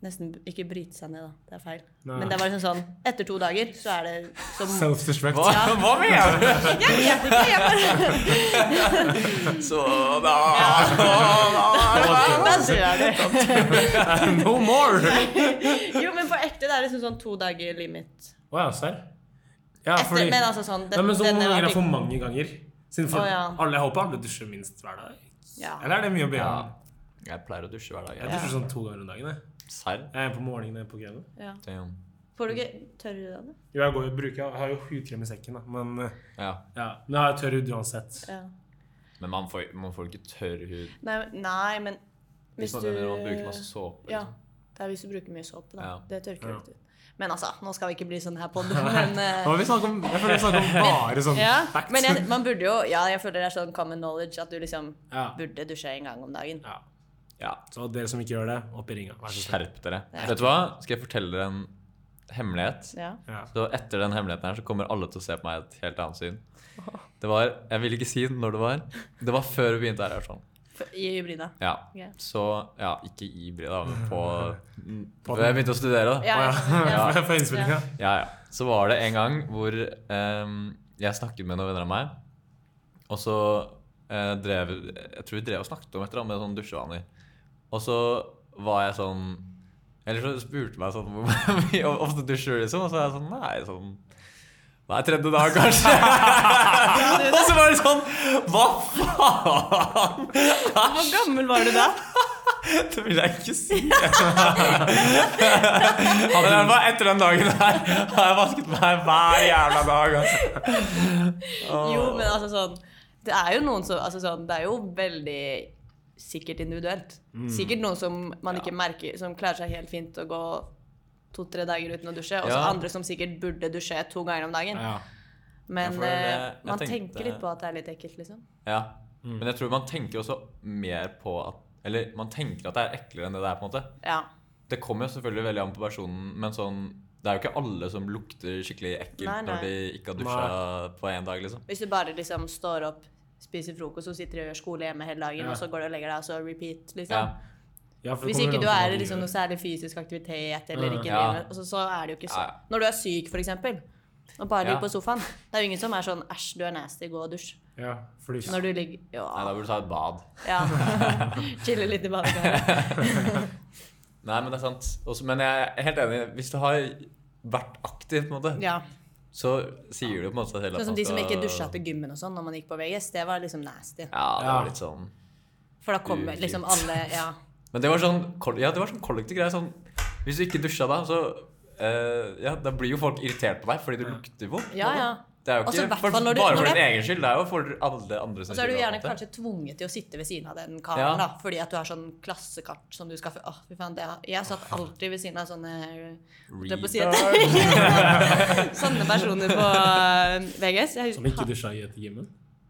Speaker 1: Nesten ikke bryte seg ned, da. Det er feil.
Speaker 3: Nei.
Speaker 1: Men det var liksom sånn Etter to dager så er det som
Speaker 3: Self-destruct.
Speaker 2: Hva, hva mener du?
Speaker 1: Jeg vet ikke! Jeg bare
Speaker 2: Så da
Speaker 1: Da dør du.
Speaker 3: (laughs) No more!
Speaker 1: Jo, men på ekte, det er liksom sånn to dager limit.
Speaker 3: Å ja, serr? Ja,
Speaker 1: Etter,
Speaker 3: fordi
Speaker 1: men altså sånn
Speaker 3: Nei, men så
Speaker 1: denne
Speaker 3: Hvor mange ganger er for
Speaker 1: artikkelen-
Speaker 3: mange ganger? Siden for,
Speaker 1: Å, ja.
Speaker 3: alle, Jeg håper alle dusjer minst hver dag.
Speaker 1: ja.
Speaker 3: Eller er det mye å be
Speaker 2: Ja.
Speaker 3: om?
Speaker 2: Jeg pleier å dusje hver dag.
Speaker 3: Jeg
Speaker 2: jeg.
Speaker 3: dusjer sånn to ganger om dagen. Jeg,
Speaker 2: Serr?
Speaker 3: jeg er på morgenen og på kvelden.
Speaker 1: ja.
Speaker 2: Damn.
Speaker 1: Får du ikke tørr hud av det?
Speaker 3: Jo, jeg, går, jo- bruker, jeg har jo hudkrem i sekken, da. Men, eh,
Speaker 2: Ja.
Speaker 3: ja. men jeg har tørr hud uansett.
Speaker 1: Ja.
Speaker 2: Men man får, man får ikke tørr hud.
Speaker 1: Nei, men- nei, men
Speaker 2: Hvis
Speaker 1: hvis
Speaker 2: man,
Speaker 1: du
Speaker 2: man bruker masse såpe.
Speaker 1: Ja.
Speaker 2: liksom.
Speaker 1: Det er hvis du bruker mye såpe, da.
Speaker 2: Ja.
Speaker 1: Det tørker
Speaker 3: Ja.
Speaker 1: jo ikke ut. Men altså, nå skal vi ikke bli sånn her
Speaker 3: (laughs)
Speaker 1: på det, men eh,
Speaker 3: Nå har vi snakket om, jeg føler vi snakker om bare sånn
Speaker 1: ja.
Speaker 3: facts.
Speaker 1: Men jeg, man burde jo Ja, jeg føler det er sånn common knowledge at du liksom
Speaker 3: ja.
Speaker 1: burde dusje en gang om dagen.
Speaker 3: ja.
Speaker 2: Ja.
Speaker 3: Så dere som ikke gjør det, opp i ringa. Vær så snill.
Speaker 2: Skjerp dere. Vet du hva? Skal jeg fortelle dere en hemmelighet?
Speaker 1: Ja.
Speaker 3: Ja.
Speaker 2: Så etter den hemmeligheten her så kommer alle til å se på meg i et helt annet syn. Det var, Jeg vil ikke si når det var. Det var før vi begynte her. i hvert fall.
Speaker 1: For, I hybrida.
Speaker 2: Ja.
Speaker 1: Ja.
Speaker 2: Så Ja, ikke i Brida, men på,
Speaker 3: På
Speaker 2: Jeg begynte å studere, da.
Speaker 1: Ja,
Speaker 3: Å,
Speaker 1: jeg skjønner.
Speaker 3: ja. (laughs)
Speaker 1: ja.
Speaker 3: For innspillinga.
Speaker 2: Ja, ja. Så var eh, det en gang hvor ehm, jeg snakket med noen venner av meg, og så eh, drev, Jeg tror vi drev og snakket om et eller annet med sånn dusjevaner. Og så var jeg sånn Eller så spurte meg sånn (laughs) hvor mye hvor ofte dusjer du, liksom. Og så er jeg sånn Nei, sånn Hver tredje dag, kanskje. (laughs) og så var det sånn Hva faen?
Speaker 1: Hvor gammel var du da?
Speaker 2: Det vil jeg ikke si. (laughs) Men det var etter den dagen her har jeg vasket meg hver jævla dag. Altså.
Speaker 1: Jo, men altså sånn Det er jo noen som altså sånn, Det er jo veldig sikkert individuelt.
Speaker 2: Mm.
Speaker 1: Sikkert noen som man ikke merker Som klarer seg helt fint å gå to-tre dager uten å dusje. Og så
Speaker 2: Ja.
Speaker 1: andre som sikkert burde dusje to ganger om dagen.
Speaker 3: Ja.
Speaker 1: Men
Speaker 2: Ja, for det-
Speaker 1: eh,
Speaker 2: jeg
Speaker 1: man
Speaker 2: tenkte-
Speaker 1: tenker litt på at det er litt ekkelt, liksom.
Speaker 2: Ja. Men jeg tror man tenker også mer på at Eller man tenker at det er eklere enn det det er. på en måte
Speaker 1: Ja.
Speaker 2: Det kommer jo selvfølgelig veldig an på personen, men sånn det er jo ikke alle som lukter skikkelig ekkelt
Speaker 1: Nei, nei.
Speaker 2: når de ikke har dusja på én dag. liksom
Speaker 1: Hvis du bare liksom står opp, spiser frokost og sitter og gjør skole hjemme hele dagen,
Speaker 3: Ja.
Speaker 1: og så går du og legger deg, og så repeat,
Speaker 2: ja.
Speaker 1: liksom.
Speaker 3: Ja, for det
Speaker 1: Hvis
Speaker 3: kommer
Speaker 1: ikke
Speaker 3: an
Speaker 1: du
Speaker 3: på hva
Speaker 1: er i
Speaker 3: du
Speaker 1: liksom
Speaker 3: gjør.
Speaker 1: noe særlig fysisk aktivitet eller ikke
Speaker 2: Mm, Ja.
Speaker 1: driver med- og så, så er det jo ikke
Speaker 2: Ja,
Speaker 1: sånn.
Speaker 2: ja.
Speaker 1: Når du er syk, for eksempel, og bare
Speaker 2: Ja.
Speaker 1: ligger på sofaen, det er jo ingen som er sånn 'æsj, du er nasty, gå og dusj'.
Speaker 3: Ja, for du,
Speaker 1: Når du ligger
Speaker 2: Nei,
Speaker 1: Ja.
Speaker 2: da burde du ta et bad.
Speaker 1: ja. (laughs) Chille litt i
Speaker 2: (laughs)
Speaker 1: badekaret.
Speaker 2: Nei, men det er sant. Også, men jeg er helt enig. Hvis du har vært aktiv, på en måte,
Speaker 1: Ja.
Speaker 2: så sier du på en måte selv at
Speaker 1: Sånn som
Speaker 2: man
Speaker 1: de som
Speaker 2: skal-
Speaker 1: ikke dusja til gymmen og sånn når man gikk på VGS, det var liksom nasty.
Speaker 2: Ja, det
Speaker 3: Ja.
Speaker 2: var litt sånn
Speaker 1: For da kommer liksom alle Ja.
Speaker 2: Men det var sånn, kol- ja, det var sånn kollektiv greie. Sånn, hvis du ikke dusja da, så eh, ja, da blir jo folk irritert på deg fordi du lukter vondt.
Speaker 1: Ja,
Speaker 2: (laughs)
Speaker 1: ja.
Speaker 2: Det er jo
Speaker 1: Og så
Speaker 2: ikke
Speaker 1: i hvert
Speaker 2: for,
Speaker 1: fall når du-
Speaker 2: bare
Speaker 1: når
Speaker 2: for din
Speaker 1: det-
Speaker 2: egen skyld, det er jo for alle andre sin
Speaker 1: Og så er du
Speaker 2: skyld,
Speaker 1: gjerne
Speaker 2: på en måte.
Speaker 1: kanskje tvunget til å sitte ved siden av den karen,
Speaker 2: Ja.
Speaker 1: da, fordi at du har sånn klassekart som du skal Åh, fy faen, det har- Jeg satt alltid ved siden av sånne holdt jeg på å si (laughs) et- (laughs) Sånne personer på eh, VGS. Jeg
Speaker 3: som ikke
Speaker 1: husker,
Speaker 3: dusja i etter gymmen.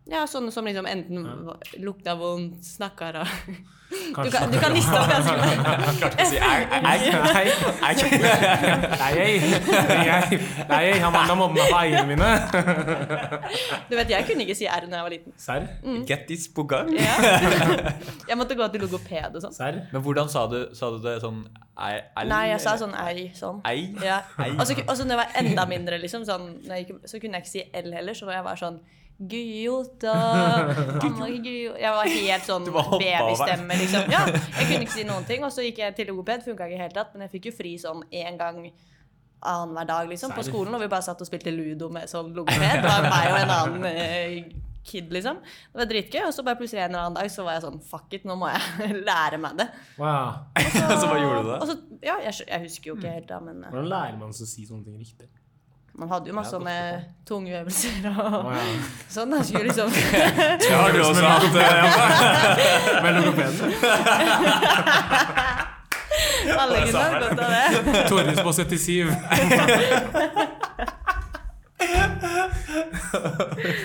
Speaker 1: ja, sånne som liksom enten v- lukta vondt, snakka rar du,
Speaker 3: Kanskje.
Speaker 1: kan- du kan liste opp ganske mange.
Speaker 2: Altså, Jeg klarte ikke å si ei, (laughs) ei, ei, ei, ei.
Speaker 3: Nei, jeg, jeg, nei, jeg har mandag mobber meg på eierne mine.
Speaker 1: Du vet, jeg kunne ikke si R når jeg var liten.
Speaker 3: Serr?
Speaker 1: Mm.
Speaker 2: Get this på
Speaker 3: (laughs)
Speaker 2: gang.
Speaker 1: Ja. Jeg måtte gå til logoped og sånn.
Speaker 3: Serr?
Speaker 2: Men hvordan sa du, sa du det sånn ei, ei,
Speaker 1: Nei, jeg sa sånn ei, sånn.
Speaker 2: Ei?
Speaker 1: (laughs)
Speaker 2: (laughs)
Speaker 1: Ja. Og så og så når jeg var enda mindre, liksom, sånn, når jeg gikk, så kunne jeg ikke si L heller, så jeg var sånn
Speaker 2: (laughs)
Speaker 1: Gyota mamma, Gyo-" Jeg var helt sånn
Speaker 2: Du bare hoppet
Speaker 1: babystemme, liksom. Ja, jeg kunne ikke si noen ting. Og så gikk jeg til logoped, funka ikke i det hele tatt, men jeg fikk jo fri sånn én gang annenhver dag liksom, på
Speaker 3: Serr.
Speaker 1: skolen, og vi bare satt og spilte ludo med sånn logoped. Det var meg og en annen eh, kid, liksom. Det var dritgøy. Og så bare plutselig en eller annen dag så var jeg sånn fuck it, nå må jeg (laughs) lære meg det.
Speaker 3: Wow.
Speaker 2: Så hva gjorde du
Speaker 1: Og
Speaker 2: da?
Speaker 1: så, ja, jeg, skj- jeg husker jo ikke helt da, men eh,
Speaker 3: Hvordan lærer man seg å si sånne ting riktig?
Speaker 1: Man hadde jo masse
Speaker 2: Ja,
Speaker 1: sånne tungeøvelser
Speaker 3: Å,
Speaker 1: og
Speaker 3: ja.
Speaker 1: (laughs) sånn. da skulle liksom
Speaker 2: Det har du også hatt.
Speaker 3: Med logopeden.
Speaker 1: Alle kunne ha godt av det.
Speaker 3: Torjus på
Speaker 2: (laughs)
Speaker 3: 77.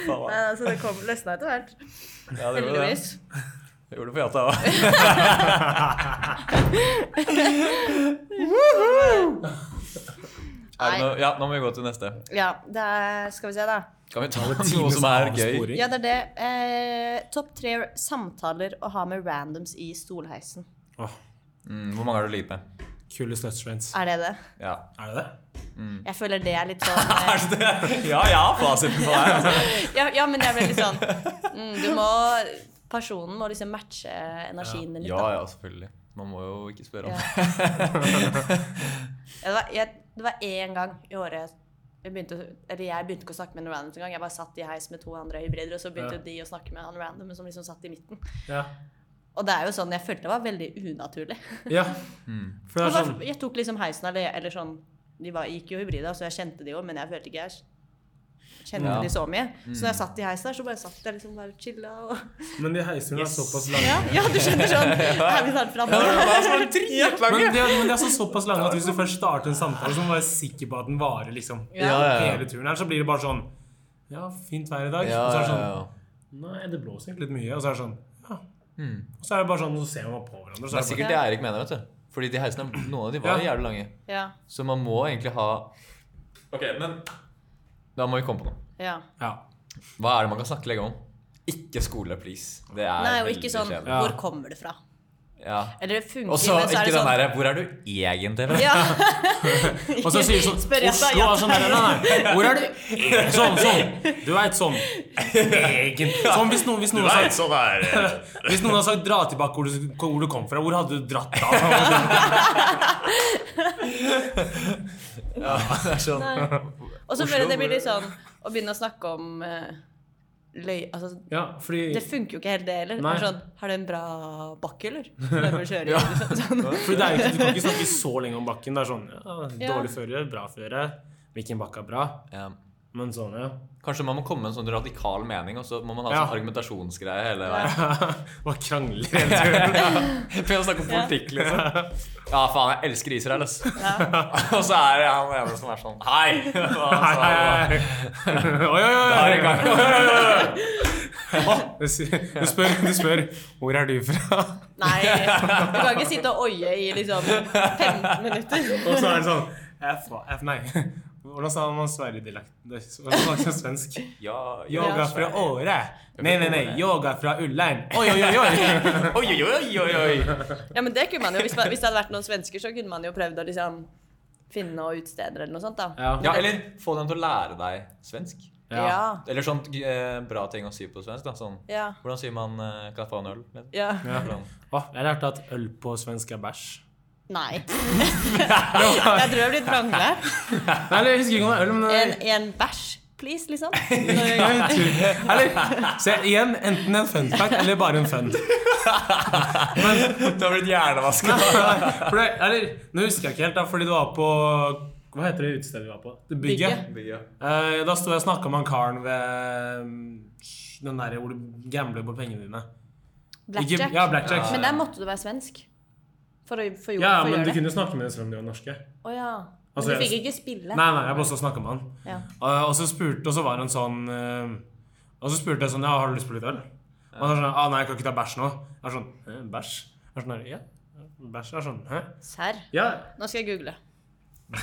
Speaker 1: Men altså, det kom løsna etter hvert.
Speaker 2: Ja, det gjorde det.
Speaker 1: Heldigvis.
Speaker 2: Det gjorde det på Jata òg.
Speaker 1: Nei.
Speaker 2: Ja, nå må vi gå til neste.
Speaker 1: Ja, det er Skal vi se, da.
Speaker 2: Kan vi ta noe som er gøy?
Speaker 1: Ja, det er det. Eh, Topp tre samtaler å ha med randoms i stolheisen.
Speaker 3: Åh,
Speaker 2: Mm, hvor mange har du ligget med?
Speaker 3: kule slutstrains.
Speaker 1: Er det det?
Speaker 2: Ja. (laughs)
Speaker 3: Er det det?
Speaker 1: Jeg føler det er litt sånn eh,
Speaker 2: Ja, ja, fasiten på deg. altså.
Speaker 1: ja, ja, men jeg ble litt sånn mm, Du må Personen må liksom matche energien din litt.
Speaker 2: Ja,
Speaker 1: da.
Speaker 2: ja, selvfølgelig. Man må jo ikke spørre om det.
Speaker 1: Ja. Ja, det, var, jeg, det var én gang i året jeg begynte, å- eller jeg begynte ikke å snakke med en random engang. Jeg bare satt i heis med to andre hybrider, og så begynte
Speaker 3: Ja.
Speaker 1: de å snakke med han random som liksom satt i midten.
Speaker 3: Ja.
Speaker 1: Og det er jo sånn, jeg følte det var veldig unaturlig.
Speaker 3: ja.
Speaker 2: Mm.
Speaker 3: For det
Speaker 1: Og
Speaker 3: er
Speaker 1: bare-
Speaker 3: sånn
Speaker 1: Jeg tok liksom heisen eller, eller sånn De var, gikk jo hybrida, så jeg kjente de jo, men jeg følte ikke jeg kjente
Speaker 2: Ja. Mm.
Speaker 1: de så mye. Så når jeg satt i heisen der, så bare satt jeg liksom bare og chilla og
Speaker 3: Men de heisene er såpass lange. (laughs)
Speaker 1: ja, ja, du skjønner sånn. Er vi snart framme?
Speaker 3: Men det, sånn men det er sånn såpass lange at hvis du først starter en samtale, så må du være sikker på at den varer liksom
Speaker 2: Ja, ja, ja.
Speaker 3: hele turen. her, Så blir det bare sånn Ja, fint vær i dag.
Speaker 2: Ja,
Speaker 3: og så er
Speaker 2: ja,
Speaker 3: det sånn
Speaker 2: ja.
Speaker 3: Nei, det blåser egentlig litt mye. Og så er det sånn Ja. Og så er det bare sånn, så ser man på hverandre. og Så er det bare,
Speaker 2: Mm. Det er sikkert det Eirik mener, vet du. Fordi de heisene, noen av de var
Speaker 3: Ja.
Speaker 2: jævlig lange.
Speaker 1: Ja.
Speaker 2: Så man må egentlig ha Ok, men Da må vi komme på noe.
Speaker 1: ja.
Speaker 3: ja.
Speaker 2: Hva er det man kan snakke lenge om? Ikke skole, please. Det er
Speaker 1: Nei, og
Speaker 2: veldig
Speaker 1: ikke sånn
Speaker 2: kjedelig.
Speaker 1: Hvor kommer du fra?
Speaker 2: Ja.
Speaker 1: Eller det funker,
Speaker 2: Og så
Speaker 1: men så er
Speaker 2: ikke
Speaker 1: det
Speaker 2: den
Speaker 1: sånn
Speaker 2: derre Hvor er du egentlig fra?
Speaker 1: ja.
Speaker 3: (laughs) Og så sier du sånn
Speaker 1: Spør jeg da,
Speaker 3: Oslo
Speaker 1: ja.
Speaker 3: er sånn der, nei, nei, nei. Hvor er du? Eh, Sånn, sånn. Du veit sånn. Egentlig. Sånn hvis noen, hvis noen har sagt
Speaker 5: sånn er
Speaker 3: hvis noen har sagt 'dra tilbake hvor du, hvor du kom fra', hvor hadde du dratt da?
Speaker 2: (laughs) Ja, det er sånn.
Speaker 1: Og så
Speaker 2: Oslo,
Speaker 1: føler jeg det
Speaker 2: hvor-
Speaker 1: blir litt sånn å begynne å snakke om eh, løy... Altså,
Speaker 3: Ja, fordi,
Speaker 1: det funker jo ikke helt, det heller. Det
Speaker 3: Nei.
Speaker 1: er Sånn, har du en bra bakke, eller?
Speaker 3: (laughs)
Speaker 1: Den bør kjøre, liksom. sånn.
Speaker 3: fordi det er jo ikke, du kan ikke snakke så lenge om bakken. Det er sånn ja,
Speaker 1: Ja.
Speaker 3: Dårlig føre, bra føre. Hvilken bakke er bra?
Speaker 2: Ja.
Speaker 3: Men sånn, ja. (laughs)
Speaker 2: Kanskje man må komme med en sånn radikal mening, og så må man ha
Speaker 3: Ja.
Speaker 2: sånn argumentasjonsgreie hele veien.
Speaker 3: Bare krangler liksom? hele tiden.
Speaker 2: For å snakke om politikk, liksom. Ja, faen, jeg elsker Israel, ass. (laughs) og så er det han ene som er sånn Hei! (laughs)
Speaker 3: Hei,
Speaker 2: Og så-
Speaker 3: hei, hei. Oi, oi,
Speaker 2: Da er
Speaker 3: oi.
Speaker 2: det i gang.
Speaker 3: Du sier- Du spør, du spør Hvor er du fra?
Speaker 1: Nei, du kan ikke sitte og oie i liksom 15 minutter.
Speaker 3: Og så er det sånn Jeg er fra jeg er- Nei. Hvordan sa man Sverigedialekt? Hvordan sa man svensk?
Speaker 2: Ja,
Speaker 3: Yoga
Speaker 1: Ja.
Speaker 3: fra Åre. Nei, nei, nei. Yoga fra Ullern. Oi, oi, oi, (laughs) oi.
Speaker 2: Oi, oi, oi, oi, oi.
Speaker 1: Ja, men det kunne man jo. Hvis, man, hvis det hadde vært noen svensker, så kunne man jo prøvd å liksom finne noen utesteder eller noe sånt, da.
Speaker 3: Ja.
Speaker 2: Ja, eller få dem til å lære deg svensk.
Speaker 1: Ja. Ja.
Speaker 2: Eller sånn eh, bra ting å si på svensk. da sånn,
Speaker 1: Ja.
Speaker 2: Hvordan sier man eh, 'kan jeg få en øl'? Med?
Speaker 1: ja.
Speaker 2: Hvordan-
Speaker 3: Å, jeg lærte at øl på svensk er bæsj. (laughs)
Speaker 1: Nei. jeg tror jeg har blitt vranglært.
Speaker 3: Nei, eller jeg husker ikke om det er øl, men
Speaker 1: En, en bæsj, please,
Speaker 3: (laughs)
Speaker 1: liksom. Når-
Speaker 3: Eller, se, igjen, enten en fun fact eller bare en fun.
Speaker 2: (laughs)
Speaker 3: (laughs)
Speaker 2: Du har blitt (laughs) hjernevasket.
Speaker 3: For det, eller, nå husker jeg ikke helt, da, fordi det var på Hva heter det utestedet vi var på? Det bygget.
Speaker 1: Bygget.
Speaker 3: Eh, da sto jeg og snakka med han karen ved mm, den der hvor du gambler på pengene dine. Ikke-
Speaker 1: Blackjack.
Speaker 3: Ja, blackjack.
Speaker 1: Men der måtte du være svensk. For å få gjort
Speaker 3: Ja,
Speaker 1: for å
Speaker 3: men
Speaker 1: gjøre
Speaker 3: du
Speaker 1: det.
Speaker 3: kunne jo snakke med dem selv om de var norske.
Speaker 1: Å ja. Men
Speaker 3: Altså,
Speaker 1: du fikk
Speaker 3: jeg-
Speaker 1: ikke spille.
Speaker 3: Nei, nei, jeg bare snakka med han.
Speaker 1: Ja.
Speaker 3: Eh, og så spurte, og så var han sånn eh, Og så spurte jeg sånn Ja, har du lyst på litt øl? Og han var sånn ah, Nei, jeg kan ikke ta bæsj nå. Jeg var sånn «Hæ, Bæsj? Jeg var sånn, ja, bæsj. Jeg var sånn Hæ?
Speaker 1: Serr.
Speaker 3: Ja.
Speaker 1: Nå skal jeg google.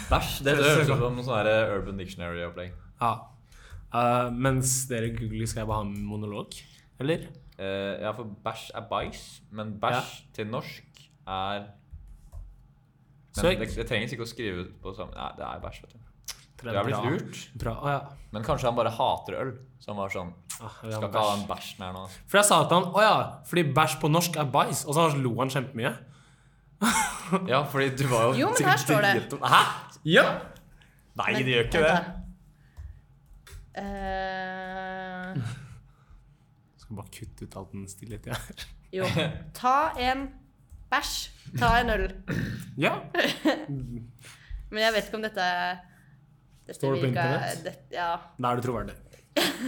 Speaker 2: Bæsj. Det, det høres ut som sånn her Urban Dictionary-opplegg.
Speaker 3: ja. Eh, mens dere googler, skal jeg bare ha en monolog? Eller?
Speaker 2: Eh, ja, for bæsj er bæsj, men bæsj til norsk er men
Speaker 3: Søk.
Speaker 2: det, det trengs ikke å skrive ut på samme Nei, det er bæsj, vet du. Du
Speaker 3: Bra.
Speaker 2: er blitt lurt.
Speaker 3: Bra. Å, ja.
Speaker 2: Men kanskje han bare hater øl. Så han var sånn
Speaker 3: Ah, vi har
Speaker 2: Skal ikke ha den bæsjen her nå. altså. ass».
Speaker 3: For jeg sa til han å ja, fordi bæsj på norsk er bæsj, og så lo han kjempemye.
Speaker 2: Ja, fordi du var jo
Speaker 1: Jo, men her står det.
Speaker 2: drit- Hæ?
Speaker 3: Ja.
Speaker 2: Nei,
Speaker 1: Men-
Speaker 2: det gjør ikke det.
Speaker 1: vent da. Eh,
Speaker 3: Skal bare kutte ut all den stillheten jeg er.
Speaker 2: (laughs)
Speaker 1: jo. Ta en bæsj. Ta en øl.
Speaker 3: Ja.
Speaker 1: Men jeg vet ikke om dette dette
Speaker 3: Står det på
Speaker 1: virker-
Speaker 3: internett?
Speaker 1: Det, ja.
Speaker 3: Da er du troverdig.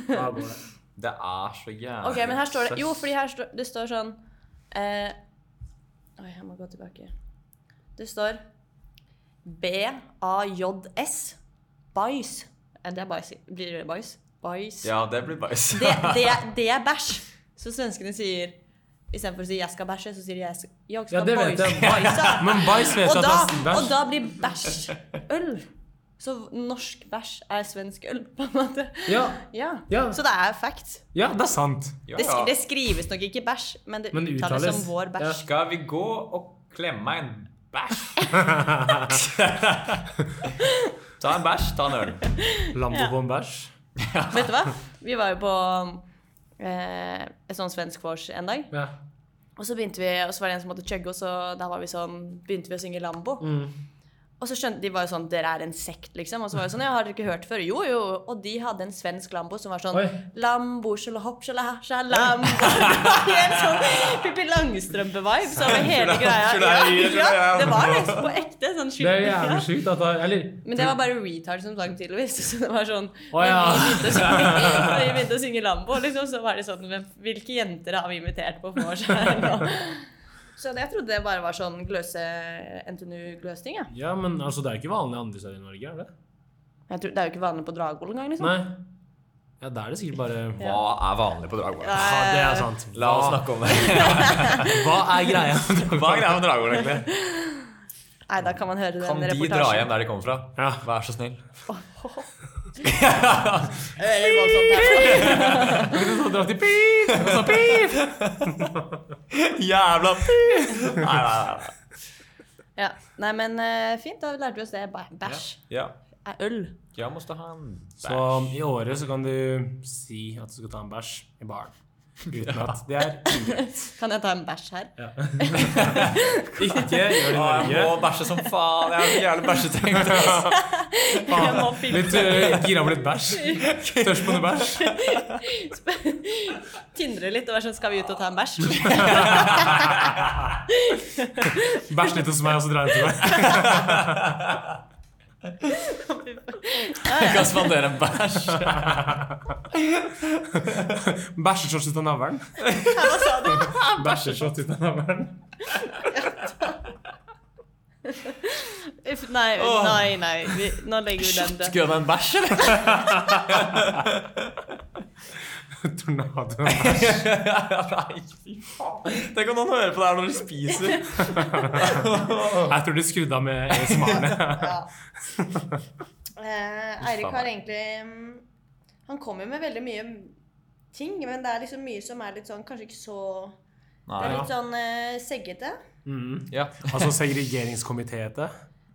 Speaker 3: Da går det.
Speaker 2: Det er så jævlig
Speaker 1: Ok, men her står det Jo,
Speaker 2: søtt.
Speaker 1: fordi her står, det står sånn eh, Oi, jeg må gå tilbake. Det står B-A-J-S. Bajs. Eh, Det er bajs. Blir det bajs? Bajs.
Speaker 2: (laughs) Ja, det blir bæsj.
Speaker 1: Det, det, er- det er bæsj. Så svenskene sier Istedenfor å si 'jeg skal bæsje', så sier de 'jeg skal, jeg skal
Speaker 3: Ja, det vet
Speaker 1: bajse'.
Speaker 3: jeg. (laughs)
Speaker 1: Bajse.
Speaker 3: Men bæsj vet
Speaker 1: Og,
Speaker 3: jeg at
Speaker 1: da,
Speaker 3: det er
Speaker 1: og
Speaker 3: bæsj.
Speaker 1: da blir bæsj øl. Så norsk bæsj er svensk øl, på en måte.
Speaker 3: Ja.
Speaker 1: Ja.
Speaker 3: Ja.
Speaker 1: Så det er fact.
Speaker 3: ja, det er sant.
Speaker 2: Ja,
Speaker 1: Det,
Speaker 2: ja.
Speaker 1: det skrives nok ikke bæsj, men det
Speaker 3: Men det
Speaker 1: uttales,
Speaker 3: uttales.
Speaker 1: som vår bæsj.
Speaker 2: Skal vi gå og klemme en bæsj? ta en bæsj, ta en øl.
Speaker 3: Lambo på en bæsj.
Speaker 1: Vet du hva? Vi var jo på eh, et sånn svensk vors en dag,
Speaker 3: Ja.
Speaker 1: og så begynte vi, og så var det en som måtte chugge, og så der var vi sånn, begynte vi å synge Lambo.
Speaker 3: Mm.
Speaker 1: Og så skjønte de var jo sånn Dere er en sekt, liksom. Og så var det sånn Ja, har dere ikke hørt før? Jo, jo. Og de hadde en svensk Lambo som var sånn
Speaker 3: Oi.
Speaker 1: Lambo, sjala hopp, sjala ha, sjala Lambo. (laughs) Det var Helt sånn Pippi Langstrømpe-vibes over hele greia. Ja, ja, det var liksom på ekte. Sånn
Speaker 3: Det er
Speaker 1: skikkelig. ja.
Speaker 3: jævlig sjukt at det Eller
Speaker 1: Men det var bare retard som sang tydeligvis. (laughs) Så det var sånn
Speaker 3: Å, ja.
Speaker 1: når, vi begynte å synge, når
Speaker 2: (laughs)
Speaker 1: vi begynte å synge Lambo, liksom, så var det sånn hvem, Hvilke jenter har vi invitert på vors her nå? (laughs) Så jeg trodde det bare var sånn gløse NTNU-gløsting. Ja.
Speaker 3: Ja, men altså, det er jo ikke vanlig andre steder i Norge, er det?
Speaker 1: Jeg tror, det er jo ikke vanlig på Dragvoll engang. Liksom.
Speaker 3: Nei. Ja, da er det sikkert bare ja,
Speaker 2: Hva er vanlig på Dragvoll?
Speaker 3: Det er sant.
Speaker 2: La oss snakke om det.
Speaker 3: Hva er greia?
Speaker 2: Hva er greia med Dragvoll, egentlig?
Speaker 1: Nei, da kan man høre
Speaker 2: Kan
Speaker 1: den
Speaker 2: de dra
Speaker 1: reportasjen.
Speaker 2: hjem der de kommer fra?
Speaker 3: Ja.
Speaker 2: Vær så snill.
Speaker 1: Det er litt voldsomt her. (laughs)
Speaker 3: Så drar til pip, og så pip.
Speaker 2: Jævla Nei, nei, nei. nei.
Speaker 1: Ja. Nei, men eh, fint. Da lærte vi oss det. Bæ- Bæsj
Speaker 2: Ja.
Speaker 1: er øl.
Speaker 2: Jeg måtte ha en bæsj.
Speaker 3: Så um, i året så kan du si at du skal ta en bæsj i baren. Uten at det er inngrep.
Speaker 1: Kan jeg ta en bæsj her?
Speaker 3: Ikke gjør det i
Speaker 2: Å, jeg
Speaker 3: Norge.
Speaker 2: må bæsje som faen. Jeg er så jævlig bæsjetrengt. ass.
Speaker 1: (laughs) Jeg må filme.
Speaker 3: (laughs) Litt uh, gira på litt bæsj. Tørst på noe bæsj.
Speaker 1: (laughs) Tindre litt og være sånn Skal vi ut og ta en bæsj?
Speaker 2: (laughs)
Speaker 3: Bæsj litt hos meg, og så drar jeg til deg.
Speaker 2: Jeg kan spandere en bæsj.
Speaker 3: Bæsjeshorts ut av navlen.
Speaker 1: Hva sa du?
Speaker 3: (laughs) Bæsjeshorts ut av navlen.
Speaker 1: Uff, Nei,
Speaker 2: Åh.
Speaker 1: nei, nei. Vi, nå legger vi den død.
Speaker 2: Skulle han ha en bæsj, eller?
Speaker 3: Tornado.
Speaker 2: Nei, fy faen. Tenk om noen hører på det her når de spiser.
Speaker 3: Jeg tror de skrudde av med ASMR-ene.
Speaker 1: Ja. Eh, Eirik
Speaker 2: faen
Speaker 1: har
Speaker 2: meg.
Speaker 1: egentlig mm, Han kommer med veldig mye ting, men det er liksom mye som er litt sånn Kanskje ikke så Det er
Speaker 2: Nei.
Speaker 1: litt sånn eh, seggete.
Speaker 2: Ja.
Speaker 3: Altså segregeringskomitéete.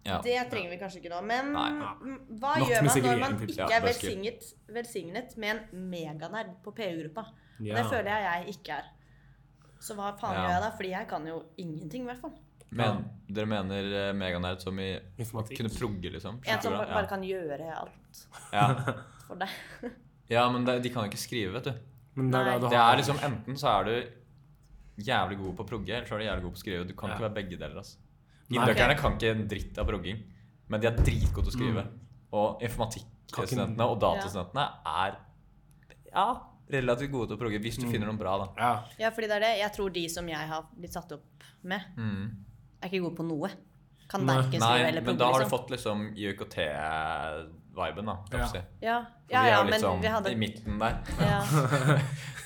Speaker 2: ja.
Speaker 1: Det trenger vi kanskje ikke nå. Men
Speaker 2: Nei.
Speaker 1: mm, hva
Speaker 3: Nok
Speaker 1: gjør
Speaker 3: med
Speaker 1: man når
Speaker 3: segregering,
Speaker 1: man
Speaker 3: typ.
Speaker 1: ikke
Speaker 2: Ja,
Speaker 1: er
Speaker 2: det er skummelt.
Speaker 1: velsignet, velsignet med en meganerd på PU-gruppa?
Speaker 3: Ja.
Speaker 1: Det føler jeg jeg ikke er. Så hva faen
Speaker 2: Ja.
Speaker 1: gjør jeg da? Fordi jeg kan jo ingenting, i hvert fall.
Speaker 2: Men, dere mener eh, meganerd som i
Speaker 3: Informatikk.
Speaker 2: kunne progge, liksom?
Speaker 1: En som
Speaker 2: Skjønner du
Speaker 1: bare
Speaker 2: det?
Speaker 1: kan gjøre alt
Speaker 2: ja. Ja.
Speaker 1: for deg.
Speaker 2: ja, men det, de kan jo ikke skrive, vet du.
Speaker 3: Men det er da
Speaker 1: Nei.
Speaker 3: du
Speaker 2: Det
Speaker 3: har
Speaker 2: er liksom Enten så er du jævlig god på å progge, eller så er du jævlig god på å skrive. Du kan ikke
Speaker 3: Ja.
Speaker 2: være begge deler. Altså.
Speaker 3: Nei.
Speaker 2: Indøkerne kan ikke en dritt av progging, men de er dritgode til å skrive. Og
Speaker 3: Kan ikke-
Speaker 2: informatikkstudentene og datastudentene er ja, relativt gode til å progge, hvis du finner noen bra, da.
Speaker 3: ja.
Speaker 1: Ja, fordi det er det. Jeg tror de som jeg har blitt satt opp med,
Speaker 2: Mm.
Speaker 1: er ikke gode på noe. Kan
Speaker 3: Nei.
Speaker 1: verken skrive
Speaker 2: Nei,
Speaker 1: eller
Speaker 2: men
Speaker 1: pugge,
Speaker 2: da har du
Speaker 1: liksom.
Speaker 2: fått liksom IUKT-viben, da. kan
Speaker 3: Ja.
Speaker 2: du si.
Speaker 1: Ja,
Speaker 2: For
Speaker 1: ja,
Speaker 2: vi er
Speaker 1: ja
Speaker 2: jo litt
Speaker 1: men
Speaker 2: sånn
Speaker 1: vi hadde
Speaker 2: i midten der.
Speaker 1: ja,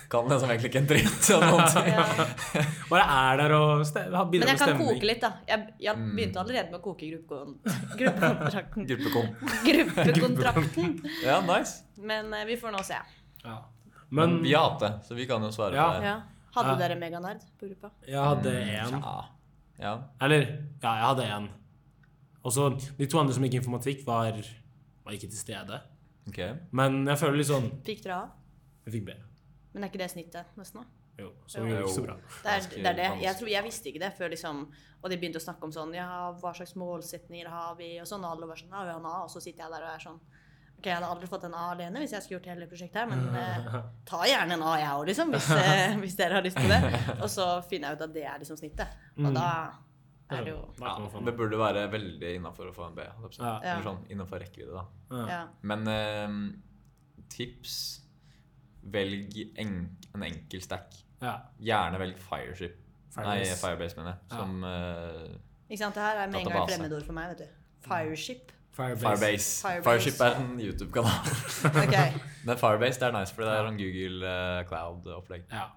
Speaker 2: Kan liksom egentlig ikke en dritt av noen
Speaker 1: (laughs)
Speaker 2: ting. (laughs)
Speaker 1: ja.
Speaker 3: Bare er der og ste- ha-
Speaker 1: Men
Speaker 3: bidrar
Speaker 1: jeg
Speaker 3: med
Speaker 1: kan
Speaker 3: stemning.
Speaker 1: koke litt, da. Jeg, jeg
Speaker 2: Mm.
Speaker 1: begynte allerede med å koke gruppekon- gruppekontrakten.
Speaker 2: (laughs) Gruppekom.
Speaker 1: Gruppekontrakten.
Speaker 2: Ja, nice.
Speaker 1: Men eh, vi får nå se.
Speaker 3: Ja.
Speaker 2: Men
Speaker 3: Men
Speaker 2: vi har hatt det, så vi kan jo svare
Speaker 3: Ja.
Speaker 2: på det.
Speaker 1: Ja. Hadde
Speaker 3: Ja.
Speaker 1: dere meganerd på gruppa?
Speaker 3: jeg hadde én.
Speaker 2: Ja. ja.
Speaker 3: Eller ja, jeg hadde én. Og så de to andre som gikk informatikk, var, var ikke til stede.
Speaker 2: Ok.
Speaker 3: Men jeg føler litt sånn
Speaker 1: Fikk dere av?
Speaker 3: Jeg fikk B.
Speaker 1: Men er ikke det snittet nesten? da?
Speaker 3: Jo, så vi gjorde ikke så bra.
Speaker 1: Det er
Speaker 2: Ganske
Speaker 1: det. Er det. Jeg,
Speaker 2: vanskelig.
Speaker 1: tror, jeg visste ikke det før liksom Og de begynte å snakke om sånn Ja, hva slags målsetninger har vi? Og sånn. Og alle var sånn Ja, vi har en A. Og så sitter jeg der og er sånn Ok, jeg hadde aldri fått en A alene hvis jeg skulle gjort hele prosjektet her, men eh, ta gjerne en A, jeg òg, liksom, hvis, eh, hvis dere har lyst til det. Og så finner jeg ut at det er liksom snittet. Og da er det jo
Speaker 2: Ja,
Speaker 3: Da kan man få
Speaker 2: det
Speaker 3: den.
Speaker 2: burde være veldig innafor å få en B. holdt jeg på å si.
Speaker 3: Ja.
Speaker 2: Eller sånn innafor rekkevidde, da.
Speaker 1: Ja.
Speaker 2: Men eh, tips Velg en, en enkel stack.
Speaker 3: Ja.
Speaker 2: Gjerne velg Fireship. Nei,
Speaker 3: Firebase.
Speaker 2: Firebase, mener jeg.
Speaker 3: Ja.
Speaker 2: Som eh,
Speaker 1: Ikke sant? Det her er med en gang
Speaker 2: Database.
Speaker 1: fremmedord for meg, vet du. Fireship.
Speaker 3: Firebase.
Speaker 2: Firebase.
Speaker 1: Firebase.
Speaker 2: Fireship er en YouTube-kanal. (laughs)
Speaker 1: Ok.
Speaker 2: Men Firebase det er nice, for det er sånn Google eh, Cloud-opplegg.
Speaker 3: Ja.